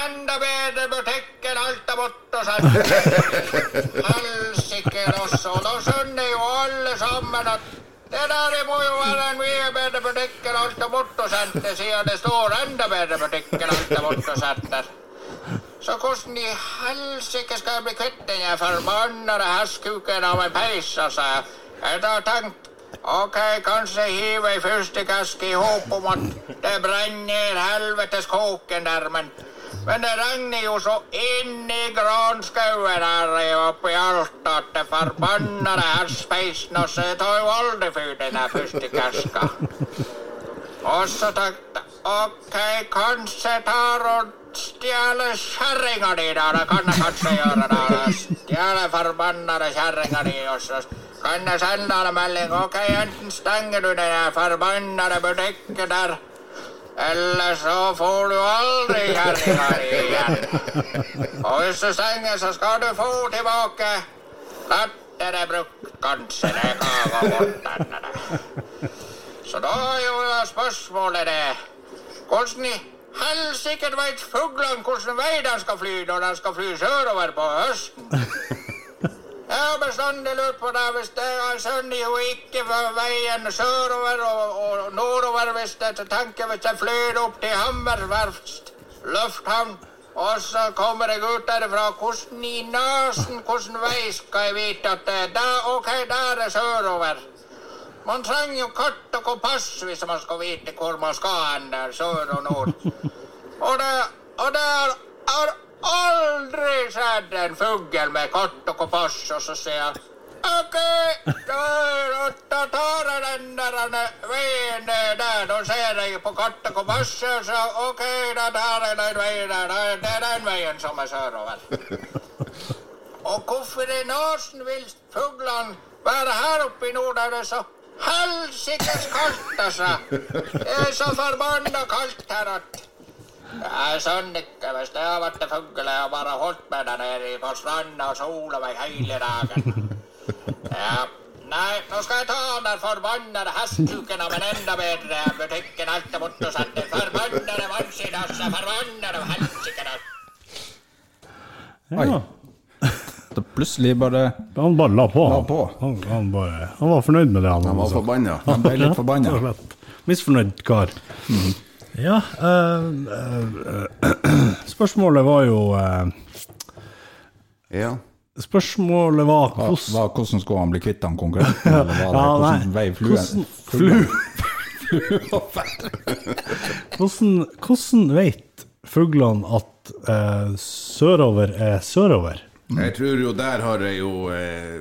B: Enda bedre butikk enn alt er borte og sånn. Helsike også. Da skjønner jo alle sammen at det der må jo være en mye bedre butikk enn alt er borte og sånn, siden det står enda bedre butikk enn alt er borte og sånn der. Så hvordan i helsike skal jeg bli kvitt den her forbannede hestkuken av en peis, altså? Jeg har tenkt OK, kanskje hive ei fyrstikkeske i håp om at det brenner ned helvetes kåken der, men men det regner jo så inni granskauen her oppe i Alta at det forbannede hestpeisen altså, det tar jo aldri fyr, den der fyrstikkeska. Og så tenkte jeg ah, OK, kanskje jeg tar og stjeler kjerringa di, da. Det kan jeg kanskje gjøre, da. da. Stjele altså. forbannede kjerringa di, og så kan jeg sende deg en melding. OK, enten stenger du den der forbannede butikken der, eller så får du aldri kjerringa di igjen. Og hvis du stenger, så skal du få tilbake. Lettere brukt, kanskje. Det kan gå bort, denne der. Så da er jo da spørsmålet det Hvordan i helsike veit fuglene hvilken vei de skal fly når de skal fly sørover på høsten? Jeg har bestandig lurt på det. Hvis det jeg skjønner jo ikke veien sørover og, og nordover hvis det jeg tenker hvis jeg flyr opp til Hammerverft lufthavn, og så kommer jeg ut derfra. Hvordan i nesen, hvilken vei skal jeg vite at det er der? OK, der er sørover. Man trenger jo kart og kompass hvis man skal vite hvor man skal hen der, sør og nord. Og det, og det har, har aldri skjedd en fugl med kart og kompass, og så sier han OK, da, da tar jeg den der veien der. Da ser jeg på kartet og kompasset, og så OK, da tar jeg den veien der. Da- Det er den veien som er sørover. Og hvorfor i nasen vil fuglene være her oppe i nord der det er så helsikes kaldt, altså? Det er så forbanna kaldt her at Jeg skjønner ikke. Hvis jeg har vært en fugl, jeg har bare holdt meg der nede på stranda og sola meg hele dagen. Ja. Nei, nå skal jeg ta han der forbannede hestkuken av en enda bedre butikk enn alt det borte og sette forbannede vannskidasse, forbannede helsikene.
D: Oi. Da plutselig bare
C: Han bare la på.
D: La på.
C: Han, han, bare, han var fornøyd med det. Han,
E: Han var
C: altså.
E: forbanna.
D: Han ble
C: [LAUGHS]
D: litt Mm.
C: Rett og
D: forbanna.
C: slett. Misfornøyd kar. Ja eh, [CLEARS THROAT] eh, Spørsmålet var jo eh,
E: Ja.
C: Spørsmålet var
D: Hva-
C: hvordan
D: hva- Hvordan skulle han bli kvitt han konkurrenten? Eller var
C: [LAUGHS]
D: det,
C: Ja,
D: hvordan
C: nei.
D: vei
C: Hvordan-
D: fluen
C: flu-
D: fluen-
C: [LAUGHS] Hvordan, hvordan vet fuglene at eh, sørover er sørover?
E: Jeg tror jo der har jeg jo eh,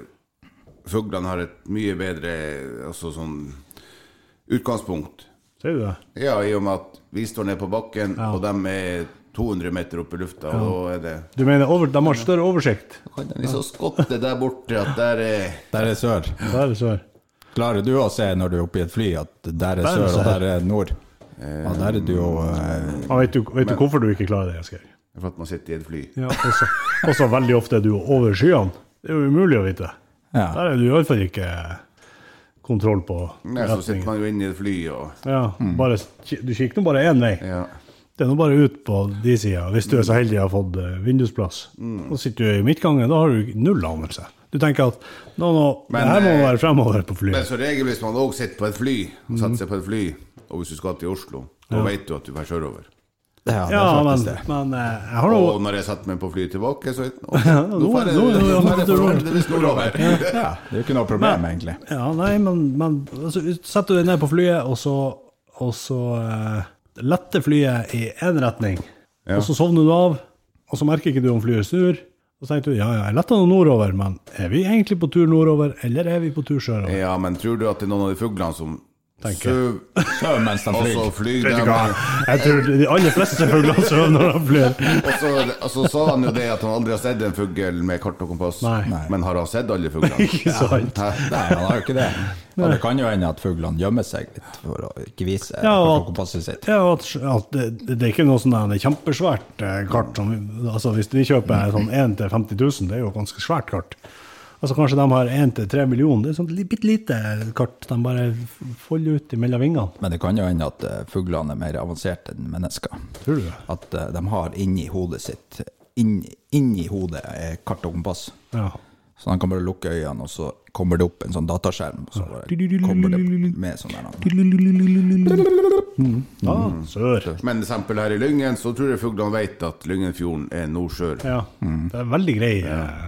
E: Fuglene har et mye bedre altså sånn utgangspunkt.
C: Ser du det?
E: Ja, i og med at vi står ned på bakken, og de er 200 meter opp i lufta, og da er det
C: Du mener over, de har større oversikt?
E: Kan de så skotte der borte at der er
D: Der er sør.
C: Der er sør.
D: Klarer du å se når du er oppe i et fly at der er
C: Der er
D: sør og
C: sør.
D: der er nord? Ja, der er du jo eh,
C: Ja, vet du, vet du hvorfor du ikke klarer det, Asgeir?
E: For at man sitter i et fly.
C: Ja, også, også veldig ofte er du over skyene. Det er jo umulig å vite.
D: Ja.
C: Der er du iallfall ikke kontroll på
E: Nei, så sitter
C: retningen.
E: man jo inne i et fly og
C: Ja, bare, du kikker nå bare én vei.
E: Ja.
C: Det er nå bare ut på de sida, hvis du er så heldig å ha fått eh, vindusplass. Så sitter du i midtgangen, da har du null anelse. Du tenker at nå, nå,
E: Men,
C: det her må
E: eh,
C: være fremover på
E: Men
C: flyet.
E: som regel hvis man òg sitter på et fly,
C: Mhm.
E: og setter seg på et fly, og hvis du skal til Oslo, da vet du at du drar sørover.
D: Ja, det
C: Ja,
D: er
C: men,
D: faktisk det.
C: men eh, jeg har nå
E: Og når jeg setter meg på flyet tilbake, så vet jeg
C: [LAUGHS] Ja, nå-
E: drar jeg-
C: nå- nå-
E: nå drar jeg
C: nå-
E: forhåpentligvis nordover.
D: Ja, det er jo ikke noe problem, egentlig.
C: Ja, nei, men, men altså, setter du deg ned på flyet, og så, og så eh, letter flyet i én retning, og så sovner du av, og så merker ikke du om flyet snur. Og så tenkte du ja, ja, jeg letta nå nordover, men er vi egentlig på tur nordover, eller er vi på tur sørover?
E: Ja, men tror du at det er noen av de fuglene som
C: tenker jeg.
E: Suv,
D: Søv mens de
E: og
D: flyr.
E: så flyr
C: Vet
E: de.
C: du hva? Jeg tror de aller fleste fugler sover når de flyr.
E: Og så, og så sa han jo det at han aldri har sett en fugl med kart og kompass.
C: Nei. Nei.
E: Men har han sett alle fuglene?
C: [LAUGHS] Ikke sant?
E: Hæ?
D: Nei, han har jo ikke det. Og det kan jo hende at fuglene gjemmer seg litt for å ikke vise
C: Ja, og at-
D: kompasset sitt.
C: Ja, og at, at det, det er ikke noe sånn der kjempesvært eh, kart. Som, altså Hvis de kjøper sånn 1 til 50 000, det er jo et ganske svært kart. Altså Kanskje de har 1 til 3 millioner. Det er sånn li- bitte lite kart. De bare f- folder ut mellom vingene.
D: Men det kan jo hende at eh, fuglene er mer avanserte enn mennesker.
C: Tror du det?
D: At eh, de har inni hodet sitt inn- Inni hodet er kart og kompass.
C: Ja.
D: Så han kan bare lukke øynene, og så kommer det opp en sånn dataskjerm. Og så bare kommer det med sånn der
C: Ah, sør.
E: Men eksempel her i Lyngen, så tror jeg fuglene vet at Lyngenfjorden er Nordsjøen.
C: Ja. Det er veldig grei eh,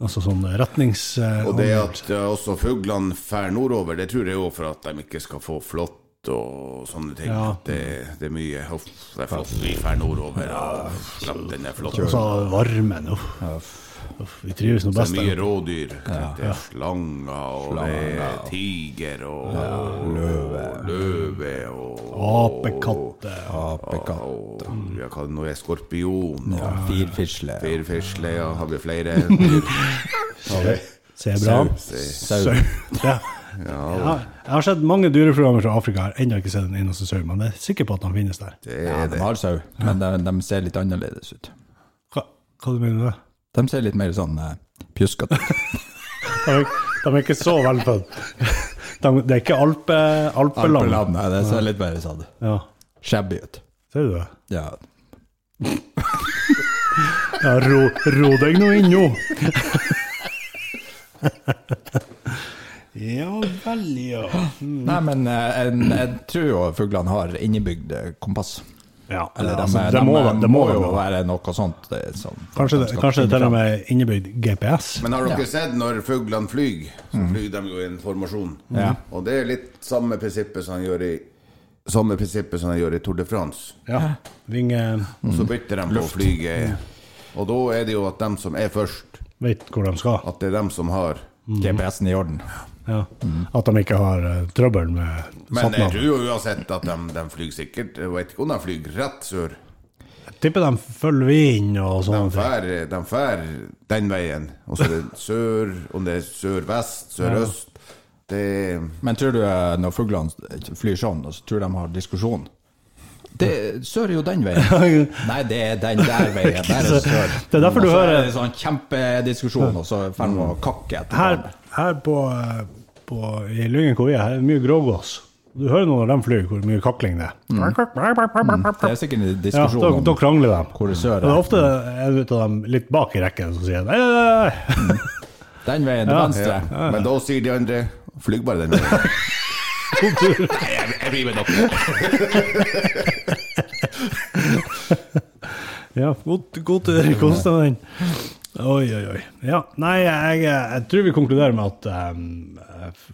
C: Altså sånn retnings... eh,
E: Og det at eh, også fuglene fær nordover, det tror jeg òg for at de ikke skal få flått og sånne ting.
C: Ja.
E: At Det, det er mye Huff, det er flott, vi fær nordover, og slapp den er flott.
C: Og så eh, altså, varmen. Uff. Uff, vi trives nå
E: Det er
C: best
E: mye
C: der.
E: rådyr. Det er slanger, og det er tiger, og løve, løve og
C: Apekatter.
D: apekatt.
E: og- Ja, hva det nå er skorpion og
D: Firfisle.
E: firfisle, ja, har vi [LAUGHS] flere?
C: Sebra.
D: Sau.
C: Ja. Ja, jeg har sett mange dyreprogrammer fra Afrika, jeg har ennå ikke sett en eneste sau, men jeg er sikker på at de finnes der.
E: Det
D: Ja,
E: er
D: de har sau, men de, de ser litt annerledes ut.
C: Hva, hva du mener du?
D: De ser litt mer sånn eh,
C: [LAUGHS]
D: pjuskete ut.
C: De, er- de er ikke så velfødd. De, det er ikke alpe, alpeland.
D: Alpeland, nei, Det ser litt mer sånn
C: Ja,
D: shabby ut.
C: ser du det?
D: Ja.
C: Ja, ro, ro deg nå inn nå! ja vel, ja.
D: Nei, men eh, en, jeg tror jo fuglene har innebygd eh, kompass.
C: ja
D: Eller de,
C: altså,
D: de,
C: det, må,
D: de
C: det må
D: jo
C: jo være.
D: være noe sånt. eh, som-
C: Kanskje,
D: de
C: det-
D: skal
C: kanskje det
D: finne
C: til og
D: fram.
C: med innebygd GPS?
E: Men har dere sett når fuglene flyr, så flyr de jo i en formasjon. Og det er litt samme prinsippet som de gjør i samme prinsippet som de gjør i Tour de France.
C: Ja. eh, Vinge
E: Og så bytter de på å flyge. Og da er det jo at dem som er først,
C: vet hvor de skal.
E: at det er dem som har
C: Mm.
D: GPS-en i orden.
C: Ja.
D: Mm.
C: At de ikke har eh, trøbbel med
D: eh,
E: Men jeg
C: satnaven.
E: tror jo uansett at de, de flyr sikkert. Jeg vet ikke om de flyr rett sør.
C: Tipper de følger vinden og
E: De
C: sånne ting.
E: fær, de fær den veien. Og så er det sør, om det er sør-vest, sør-øst Det
D: Men tror du eh, når fuglene flyr sånn, og så tror de har diskusjon? Det sør er jo den veien.
C: [LAUGHS]
D: Nei, det er den der veien. Der er sør.
C: Det er derfor du
D: Og så er
C: hører-
D: det en sånn kjempediskusjon, og så får man kakke etter
C: Her,
D: hverandre.
C: her på, eh, på, i Lyngen hvor vi er, her er det mye grågås. Du hører nå når de flyr, hvor mye kakling det er.
D: Mm. Det er sikkert en
C: Ja,
D: diskusjon
C: da, da
D: om
C: krangler de.
D: hvor det
C: Og
D: sør
C: det er
D: er.
C: ofte en av dem litt bak i rekken som sier nei, nei, nei, nei.
D: Den veien til venstre.
E: Men da sier de andre Flyg bare den veien. Nei, jeg, jeg blir med dere.
C: Ja, god, god tur. Kos deg med den. Oi, oi, oi. Ja, nei, jeg, jeg tror vi konkluderer med at em,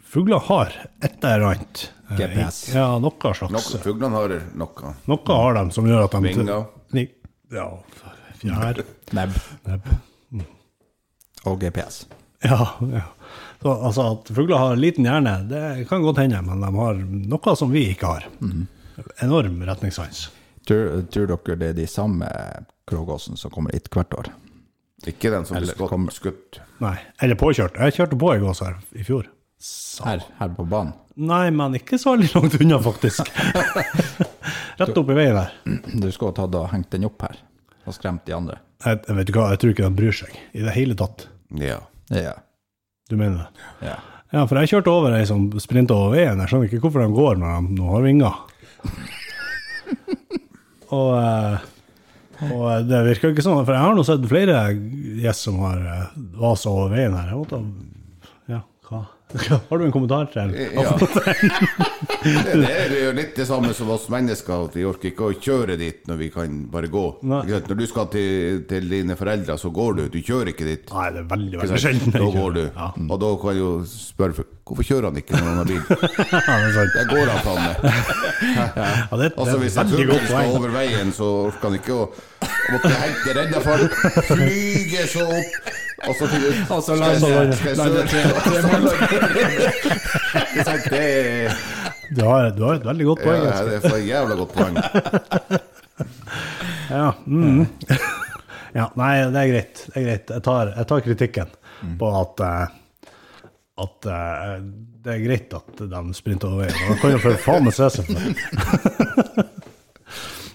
C: fugler har et eller annet. eh,
D: GPS.
C: i- Ja, noe slags.
E: Nok- Fuglene har noe.
C: Noe har de som gjør at de
E: Vinger.
C: Ni- Ja, fjær.
D: Nebb
C: Nebb.
D: og GPS.
C: Ja, ja. Så, altså at fugler har en liten hjerne, det kan godt hende, men de har noe som vi ikke har. Enorm retningssans.
D: Tror, tror dere det er de samme Krogåsen som kommer hit hvert år?
E: Ikke den som blir
D: Eller kommer-
E: skutt. skutt.
C: Nei, eller påkjørt. Jeg kjørte på ei gås her i fjor. Sa-
D: Her, her på banen?
C: Nei, men ikke så veldig langt unna, [LAUGHS] faktisk. Rett opp i veien her.
D: Du skulle ha tatt og hengt den opp her og skremt de andre.
C: Jeg, jeg vet ikke hva, jeg tror ikke de bryr seg i det hele tatt.
E: Ja.
D: Ja.
C: Du mener det?
D: ja.
C: Ja, for jeg kjørte over ei som sprinta over veien. Jeg skjønner ikke hvorfor de går når de nå har [LAUGHS] vinger. og, eh, og det virker ikke sånn, for jeg har nå sett flere gjess som har eh, vasa over veien her. Jeg måtte, ja, hva? [LAUGHS] Har du en kommentar til?
E: ja. det er jo litt det samme som oss mennesker, at vi orker ikke å kjøre dit når vi kan bare gå.
C: Nei.
E: Ikke sant? Når du skal til, til dine foreldre, så går du. Du kjører ikke dit.
C: Nei, Ah, det er veldig,
E: Ikke
C: veldig
E: sant?
C: sjelden.
E: Da
C: jeg kjører.
E: går du.
C: Ja, [LAUGHS]
E: Og da kan jo spørre for- Hvorfor kjører han ikke når han har bil?
C: ja, det er sant.
E: Der går han faen meg.
C: Ja, det, det
E: Altså,
C: er
E: hvis
C: et
E: jeg
C: veldig
E: tror
C: godt
E: skal
C: poeng.
E: over veien, så orker han ikke å og måtte hente rennefart, flyge så opp, og så finne ut
D: Og så
E: skal jeg-
D: lande-
E: skal jeg
D: lande
E: søke?
D: tre- tre
E: [LAUGHS] Ikke sant, Det er
C: Du har, du har et veldig godt poeng.
E: ja,
C: altså.
E: det er for jævla godt poeng.
C: Ja, mm. [LAUGHS] ja. Nei, det er greit. Det er greit. Jeg tar, jeg tar kritikken
E: Mm.
C: på at eh, at eh, det er greit at de sprinter over veien. De kan jo for faen meg se seg for det.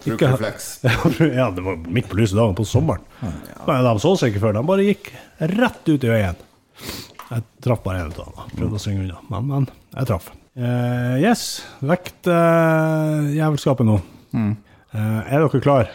E: Bruk
C: Ikke-
E: refleks.
C: [LAUGHS] Ja, det var midt på lyse dagen på sommeren. Men de så seg ikke før. De bare gikk rett ut i veien. Jeg traff bare en ut av dem. Prøvde å synge unna, men, men jeg traff. Eh, yes, vekt eh, jævelskapet nå.
E: Mm.
C: Eh, er dere klare?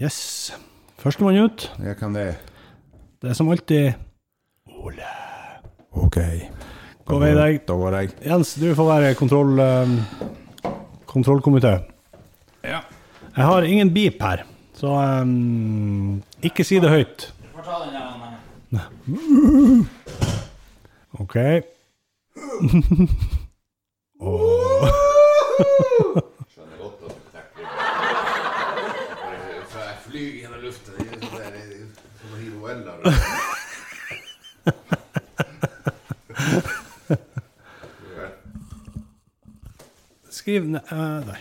C: Yes. Førstemann ut.
E: Jeg kan det.
C: Det er som alltid
D: Ok.
C: Gå vei deg.
D: Da går jeg.
C: Jens, du får være kontroll, ehm, kontrollkomité.
D: Ja.
C: Jeg har ingen beep her, så ehm, ikke si det høyt. OK. [LAUGHS]
E: Fly gjennom luften. eh,
C: Skriv ned eh, Der.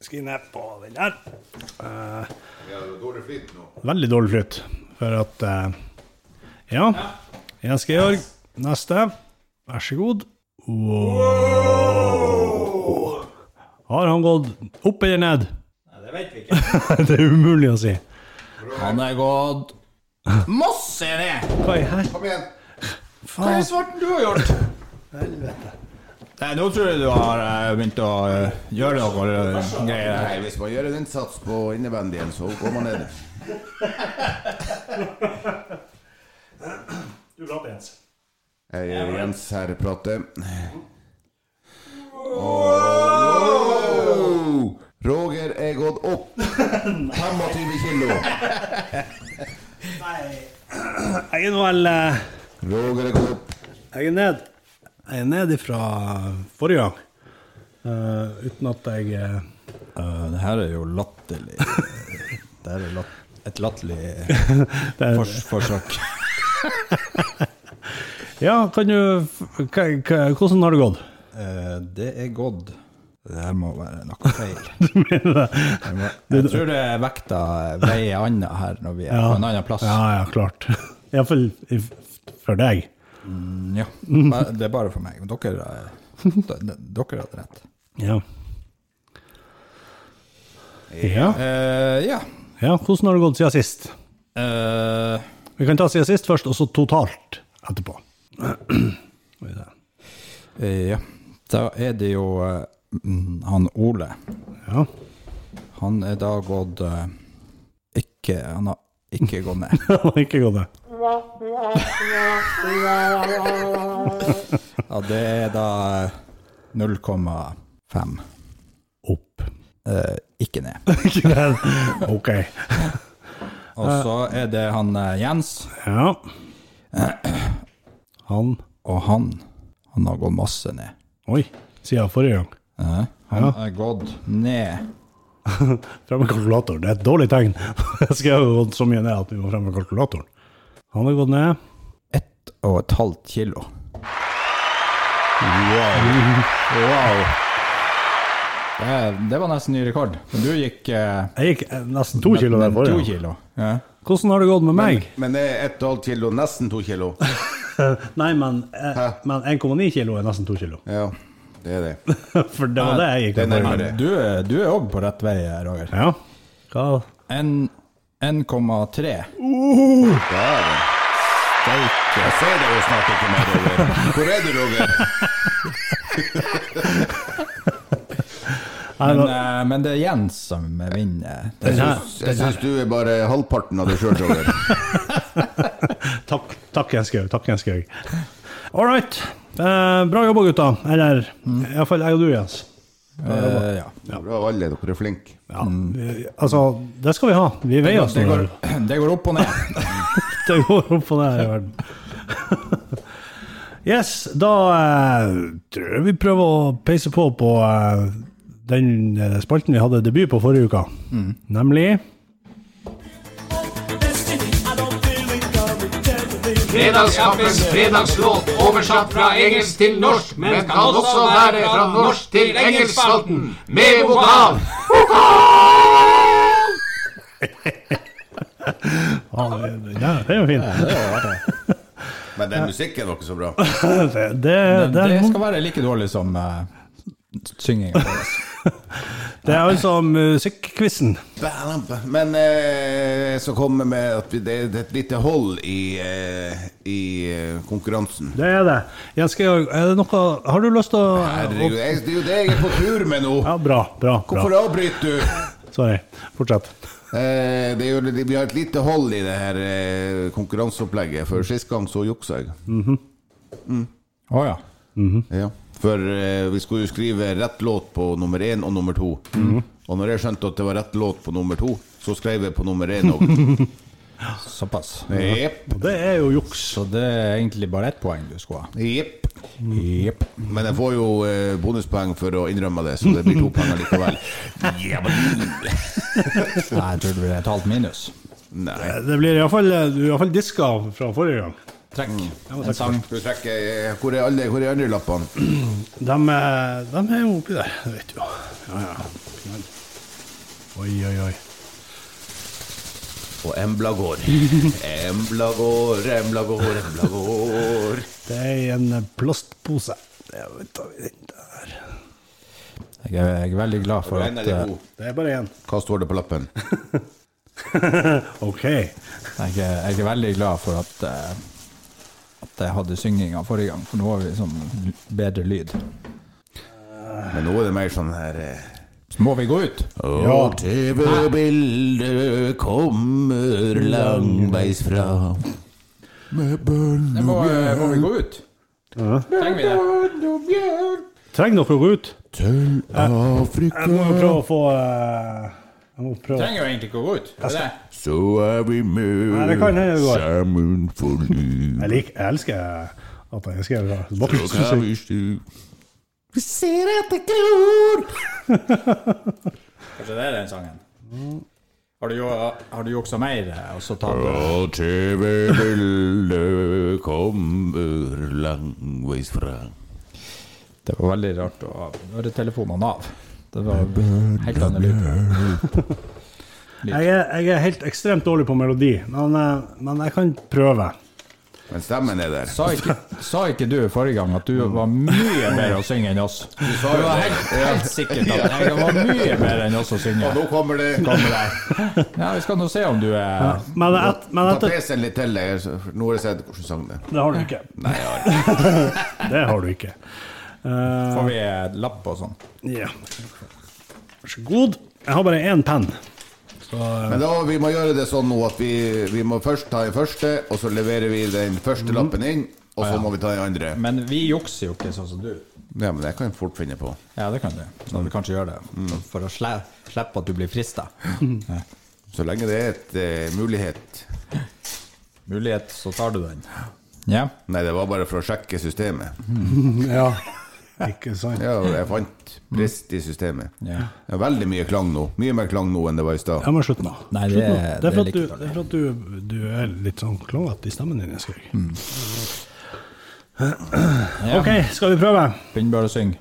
C: Skriv ned på den der.
E: Dårlig flyt nå.
C: Veldig dårlig flyt, for at eh, Ja. Jens Georg, neste. Vær så god. Wow. Har han gått opp eller ned?
F: Det vet vi ikke.
C: [LAUGHS] Det er umulig å si.
D: Han er gått masse ned!
C: Hva i her?
E: Kom igjen.
D: Hva er svarten du har gjort? Helvete. Nei, nå tror jeg du har eh, begynt å eh, gjøre noe eh, greier.
E: Nei, hvis man gjør en innsats på innebandyen, så går man ned.
C: Du la på Jens.
E: Jeg er Jens her prater. Wow! Roger er gått opp
F: [LAUGHS]
E: 25 kilo.
C: Jeg er nå vel eh,
E: Roger er gått opp.
C: Jeg er ned. Jeg er ned ifra forrige gang. Eh, uten at jeg eh,
D: Eh, det her er jo [LAUGHS] latterlig. Det her er lat et [LAUGHS] latterlig
C: det er,
D: fors forsøk.
C: Ja, kan du f- hva- hva- Hvordan har det gått?
D: Eh, det er gått Det her må være noe feil. [LAUGHS] Jeg, må, jeg tror det er vekta veier anna her når vi er på en annen plass.
C: Ja, ja, [LAUGHS] klart. Iallfall for deg.
D: Ja, men det er bare for meg. Men Dere, eh, [LAUGHS] d- d- dere hadde rett.
C: Ja. Ja.
D: Eh, ja.
C: ja. Hvordan har det gått siden sist?
D: Eh,
C: Vi kan ta siden sist først, og så totalt etterpå. Skal vi se.
D: eh, ja. Da er det jo eh, mm, han Ole.
C: Ja. [LAUGHS]
D: Han er da gått eh, Ikke Han har ikke gått ned.
C: Det var ikke godt, det.
D: Ja, det er da eh, 0,5.
C: Opp. [LAUGHS]
D: Eh, ikke ned.
C: Ikke det. OK.
D: Og så er det han eh, Jens,
C: Ja. Han
D: og han Han har gått masse ned.
C: Oi, siden forrige gang.
D: Eh, han
C: Ja.
D: har gått ned
C: Frem med kalkulatoren. Det er et dårlig tegn. [LAUGHS] Jeg skal ha gått så mye ned at vi må frem med kalkulatoren. Han har gått ned.
D: ett og et halvt kilo. Wow. wow. Det, det var nesten ny rekord. Men Du gikk eh,
C: Jeg gikk eh, nesten to kilo der
D: men
C: forrige
D: To
C: gang.
D: kilo. Ja.
C: Hvordan har det gått med meg?
E: Men det er 1,5 kilo, nesten 2 kilo.
C: Nei, men, eh, men 1,9 kilo er nesten to kilo. [LAUGHS]
E: Ja, det er det.
C: For det var det jeg gikk
E: Det er
C: med forrige gang.
E: nærmere.
D: Men du, er- du er òg på rett vei, eh, Roger.
C: Ja. Hva?
D: En- 1,3.
E: Det er det.
D: Steike.
E: Jeg ser deg jo snart ikke mer, Roger. Hvor er du, Roger?
C: Nei,
D: Men,
C: men,
D: eh, men det er Jens som vinner. Det
C: den her,
E: Jeg syns du er bare halvparten av deg sjøl, Roger.
D: eh,
C: takk, takk Jenskaug. Takk, [LAUGHS] Jenskaug.
D: Mm.
C: All right. Eh, bra jobba, gutta. Eller iallfall jeg og du, Jens.
D: Eh, ja.
E: Bra, alle. Dere er flinke.
C: Ja, vi, altså, det skal vi ha. Vi veier oss
D: Det
C: nå.
D: går, det går opp og ned.
C: [LAUGHS] Det går opp og ned i verden. [LAUGHS] Yes, da eh, tror jeg vi prøver å peise på på eh, den eh, spalten vi hadde debut på forrige uka,
D: Mm.
C: nemlig
F: Fredagskampens fredagslåt oversatt fra engelsk til norsk, men kan også være fra norsk til engelskspalten med vokal.
C: Ja, det er Eh, jo fint.
E: Men den musikken var ikke så bra.
C: Det, det, det,
D: Det
C: er,
D: skal være like dårlig som uh, synginga vår.
C: det er altså musikkquizen.
E: Men eh, så kommer vi med at vi- det det er et lite hold i, eh, i eh, konkurransen.
C: Det er det. Jens Georg, er det noe Har du lyst til å
E: Herregud, jeg- det er jo det jeg er på tur med nå!
C: Ja, bra. Bra. bra.
E: Hvorfor avbryter du?
C: Sorry. Fortsett.
E: Eh, det er jo, vi har et lite hold i det her eh, konkurranseopplegget, for sist gang så juksa jeg.
D: Å ja.
E: Ja. For eh, vi skulle jo skrive rett låt på nummer én og nummer to. Og når jeg skjønte at det var rett låt på nummer to, så skrev jeg på nummer én òg.
D: Såpass.
E: Jepp.
C: Og det er jo juks.
D: Så det er egentlig bare ett poeng du skulle ha.
E: Jepp.
D: Jepp.
E: Men jeg får jo eh, bonuspoeng for å innrømme det, så det blir to poeng [LAUGHS] likevel. Ja, men-
D: [LAUGHS] Nei, jeg tror det blir et halvt minus.
E: Nei.
C: Det blir iallfall fall eh, diska fra forrige gang.
D: Trekk. En sang.
E: Skal vi trekke eh, Hvor er alle hvor er andre lappene?
C: De, eh, de er jo oppi der, det vet du jo. Ja, ja. Knall. Oi, oi, oi.
E: Og Embla [LAUGHS] går. Embla går, Embla går, Embla går.
C: Det er i en eh, plastpose. Det er- tar vi den der.
D: Jeg er, jeg er veldig glad for
E: En
D: at
E: av de
D: eh,
E: to.
C: Det er bare én.
E: Hva står det på lappen?
C: OK.
D: jeg, er, jeg er veldig glad for at eh, at jeg hadde synginga forrige gang, for nå har vi sånn bedre lyd.
E: Men nå er det mer sånn her eh,
D: Så må vi gå ut!
E: Og TV-bildet kommer langveisfra.
D: Det må, eh, må vi gå ut? Trenger vi det?
C: Trenger dere å gå ut? Jeg må
E: Afrika,
C: jo prøve å få eh, Jeg må prøve
D: Trenger jo egentlig ikke å gå ut. Det er det.
E: så er vi
C: Nei, det
E: med
C: kan hende det går.
E: sammen for liv.
C: Jeg, liker, jeg elsker at jeg elsker
E: Så
C: det.
E: kan
C: Bakgrunnsmusikk.
E: vi stu-
D: Kanskje det er den sangen. Har du, jo- har du juksa mer, eh, og så tatt
E: Og TV-bildet kommer langveisfra.
D: Det var veldig rart å høre telefonene av. Det var helt annet lyd.
C: Jeg, er- jeg er helt ekstremt dårlig på melodi, men, eh, men jeg kan prøve.
E: Men stemmen er der.
D: Sa ikke, sa ikke du forrige gang at du var mye bedre å synge enn oss? Du var helt, helt sikkert at jeg var mye bedre enn oss å synge.
E: Nå kommer det
D: Ja, vi skal nå se om du eh, er
C: Men, et, men
E: Ta
C: etter
E: PC-en litt til. jeg- for Nå har jeg sett hvordan sang det er.
C: Det har du ikke. [LAUGHS] det har du ikke. Eh,
D: Får vi lapp og sånn?
C: ja. Vær så god. Jeg har bare én penn.
E: Men da, vi må gjøre det sånn nå at vi, vi må først ta den første, og så leverer vi den første lappen inn, og så må vi ta den andre.
D: Mhm. Men vi jukser jo ikke sånn som du.
E: Ja, men det kan jeg fort finne på.
D: Ja, det kan du. Så vi kanskje gjør det. For- For å sle slippe at du blir frista.
E: Så lenge det er et eh, mulighet.
D: Mulighet, så tar du den. Ja.
E: Nei, det var bare for å sjekke systemet.
C: Ja. Ikke sant?
E: Ja, og jeg fant brist i systemet.
D: Ja.
E: Det er veldig mye klang nå. Mye mer klang nå enn det var i stad.
C: Jeg må slutte nå.
D: Nei,
C: Slutt
D: det-
C: nå. det
D: det
C: er for
D: er
C: at, du,
D: like dårlig.
C: det er for at du, du er litt sånn klangete i stemmen din. Skal
D: ja.
C: OK, skal vi prøve?
D: Begynn bare å synge.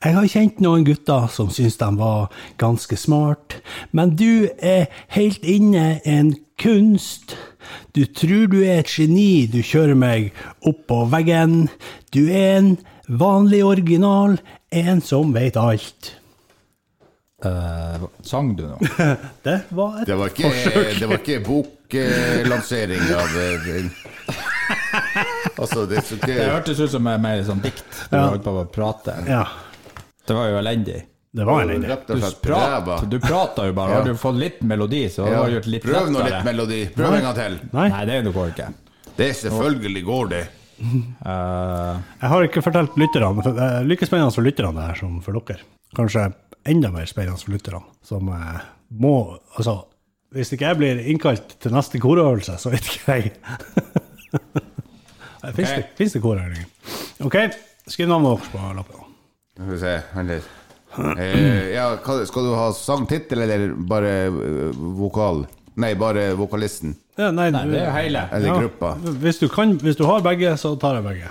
C: Jeg har kjent noen gutter som syns de var ganske smart, men du er helt inne en kunst. Du tror du er et geni, du kjører meg opp på veggen. Du er en vanlig original, en som veit alt.
D: Eh, sang du nå?
C: Det var et
E: Det var ikke, det var ikke boklansering av eh, [LAUGHS] en- Altså, det er så
D: Det
E: ikke
D: hørtes ut som et mer sånn dikt. Du holdt på å prate.
C: Ja,
D: Det var jo elendig.
C: det var en idé.
E: Rett
D: Du,
E: og slett ræva.
D: prat, du prata jo bare.
E: Ja.
D: Har du fått litt melodi, så har
E: Ja.
D: du gjort litt
E: Prøv nå
D: lettere.
E: litt melodi. Prøv en gang til.
C: Nei.
D: Nei, det går ikke.
E: Det er selvfølgelig går, det.
D: Eh,
C: Jeg har ikke fortalt lytterne, for det er like spennende for lytterne det her som for dere. Kanskje enda mer spennende for lytterne, som eh, må Altså, hvis ikke jeg blir innkalt til neste korøvelse, så vet ikke jeg. [LAUGHS] Fins det, finnes det kor her lenger? OK, skriv navnet deres på lappen.
E: Skal vi se, vent litt. Eh, ja, hva- skal du ha sangtittel eller bare eh, vokal? Nei, bare vokalisten.
C: Ja, nei,
D: nei,
C: du-
D: det er jo hele.
E: Eller
C: ja,
E: gruppa.
C: Hvis du, kan, hvis du har begge, så tar jeg begge.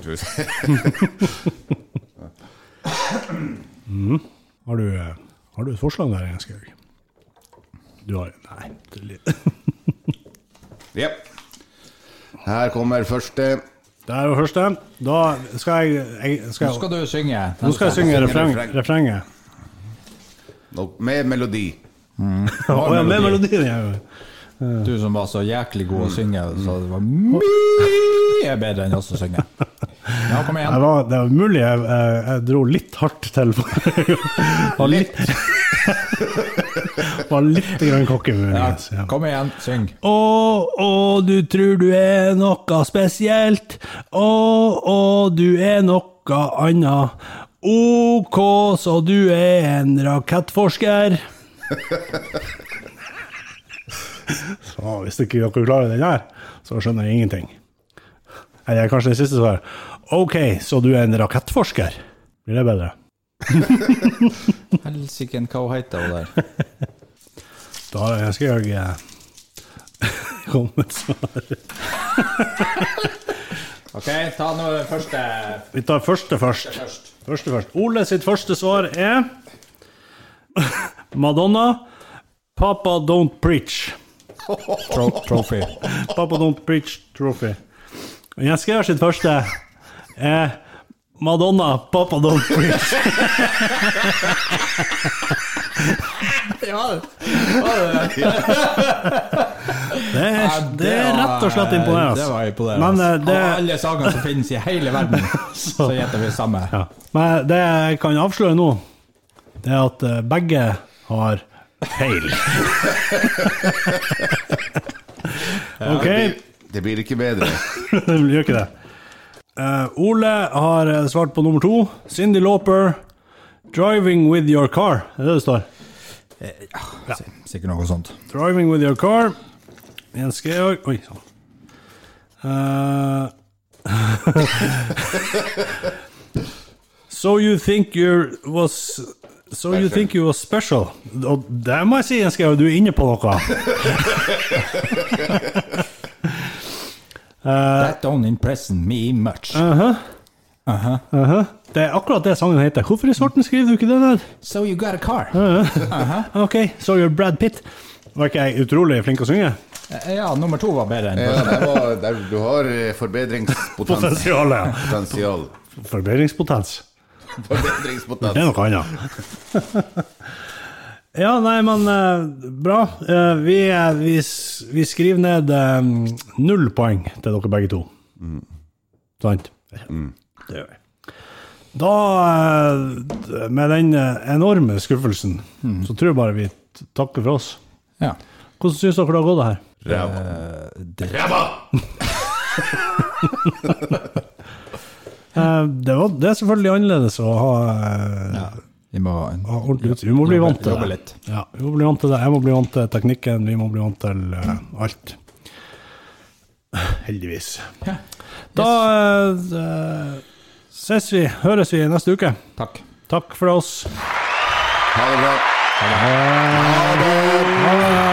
E: Skal vi se. [LAUGHS]
C: Har du, eh, har du et forslag der, Jens Georg? Du har Nei. det er litt- [LAUGHS]
E: Jepp. Her kommer første.
C: Det er jo første. Da skal jeg, jeg skal,
D: Nå skal du synge.
C: Nå skal jeg synge refreng,
E: refreng.
C: refrenget.
E: Nå- Med melodi.
C: Å ja, med Mm. melodien, ja.
D: Du som var så jæklig god å synge, så det var mye bedre enn oss å synge. Ja, kom
C: Det
D: igjen.
C: var, det var mulig jeg, jeg, jeg dro litt hardt til. [LAUGHS] var litt Var litt grann cocky.
D: Ja,
C: muligens, ja.
D: kom igjen, syng.
C: Å, å, du tror du er noe spesielt. Å, å, du er noe anna. OK, så du er en rakettforsker. så hvis ikke dere klarer den her, så skjønner jeg ingenting. Eller kanskje det siste svaret. OK, så du er en rakettforsker. Blir det bedre?
D: Helsike, hva hun heter hun der?
C: Da skal jeg eh, [LAUGHS] komme med et svar.
D: OK, ta nå den første
C: Vi tar første først. Første først. Ole sitt første svar er Madonna. Papa don't preach.
D: tro trophy.
C: Papa don't preach trophy. Og Jens Geir sitt første er Madonna, Papa don't preach.
D: [LAUGHS]
C: Det er, det er rett og slett imponerende.
D: Det var imponerende.
C: Men
D: altså.
C: eh, det,
D: Av alle sanger som finnes i hele
C: [LAUGHS]
D: verden, så gjetter vi samme.
C: ja. Men det jeg kan avsløre nå, det er at eh, begge har feil. OK. [LAUGHS]
E: Det blir ikke bedre.
C: Det gjør ikke det. Eh, Ole har eh, svart på nummer to. Cindy Lauper, 'Driving with your car'. Er det det det står?
D: Sikkert noe sånt.
C: 'Driving with your car'. Jens Georg Oi sann. Eh, [LAUGHS] so you think you was So you think you was special. Og det må jeg si, Jens Georg, du er inne på noe. Eh,
D: That don't impress me much.
C: Uh-huh. Det er akkurat det sangen heter. Hvorfor i svarten skriver du ikke det der?
D: So you got a car.
C: Eh. Ok, so you're Brad Pitt. Var ikke jeg utrolig flink å synge?
D: Eh, Ja, nummer to var bedre enn
E: Ja, der var, der, du har eh, forbedringspotensial.
C: Potensialet,
E: Potensial.
C: ja. Forbedringspotens. Det
E: Forbedringspotensial.
C: er noe annet. [LAUGHS] Ja, nei, men eh, bra. Eh, vi, eh, vi, s- vi skriver ned eh, null poeng til dere begge to. Mm. Sant? Det gjør vi. Da, eh, med den eh, enorme skuffelsen, så tror jeg bare vi t- takker for oss.
D: Ja.
C: Hvordan syns dere det har gått, det her?
E: Ræva.
C: Eh, det, var, det er selvfølgelig annerledes å ha eh,
D: Vi må
C: Ja, Ah, ordentlig utstyr. Vi må bli
D: Jobbe-
C: vant til
D: jobbe
C: det.
D: litt.
C: Ja, vi må bli vant til det. Jeg må bli vant til teknikken, vi må bli vant til eh, alt. Heldigvis. Da eh, eh, ses vi, høres vi neste uke.
D: Takk.
C: Takk for oss.
E: Ha det bra.
C: Ha det.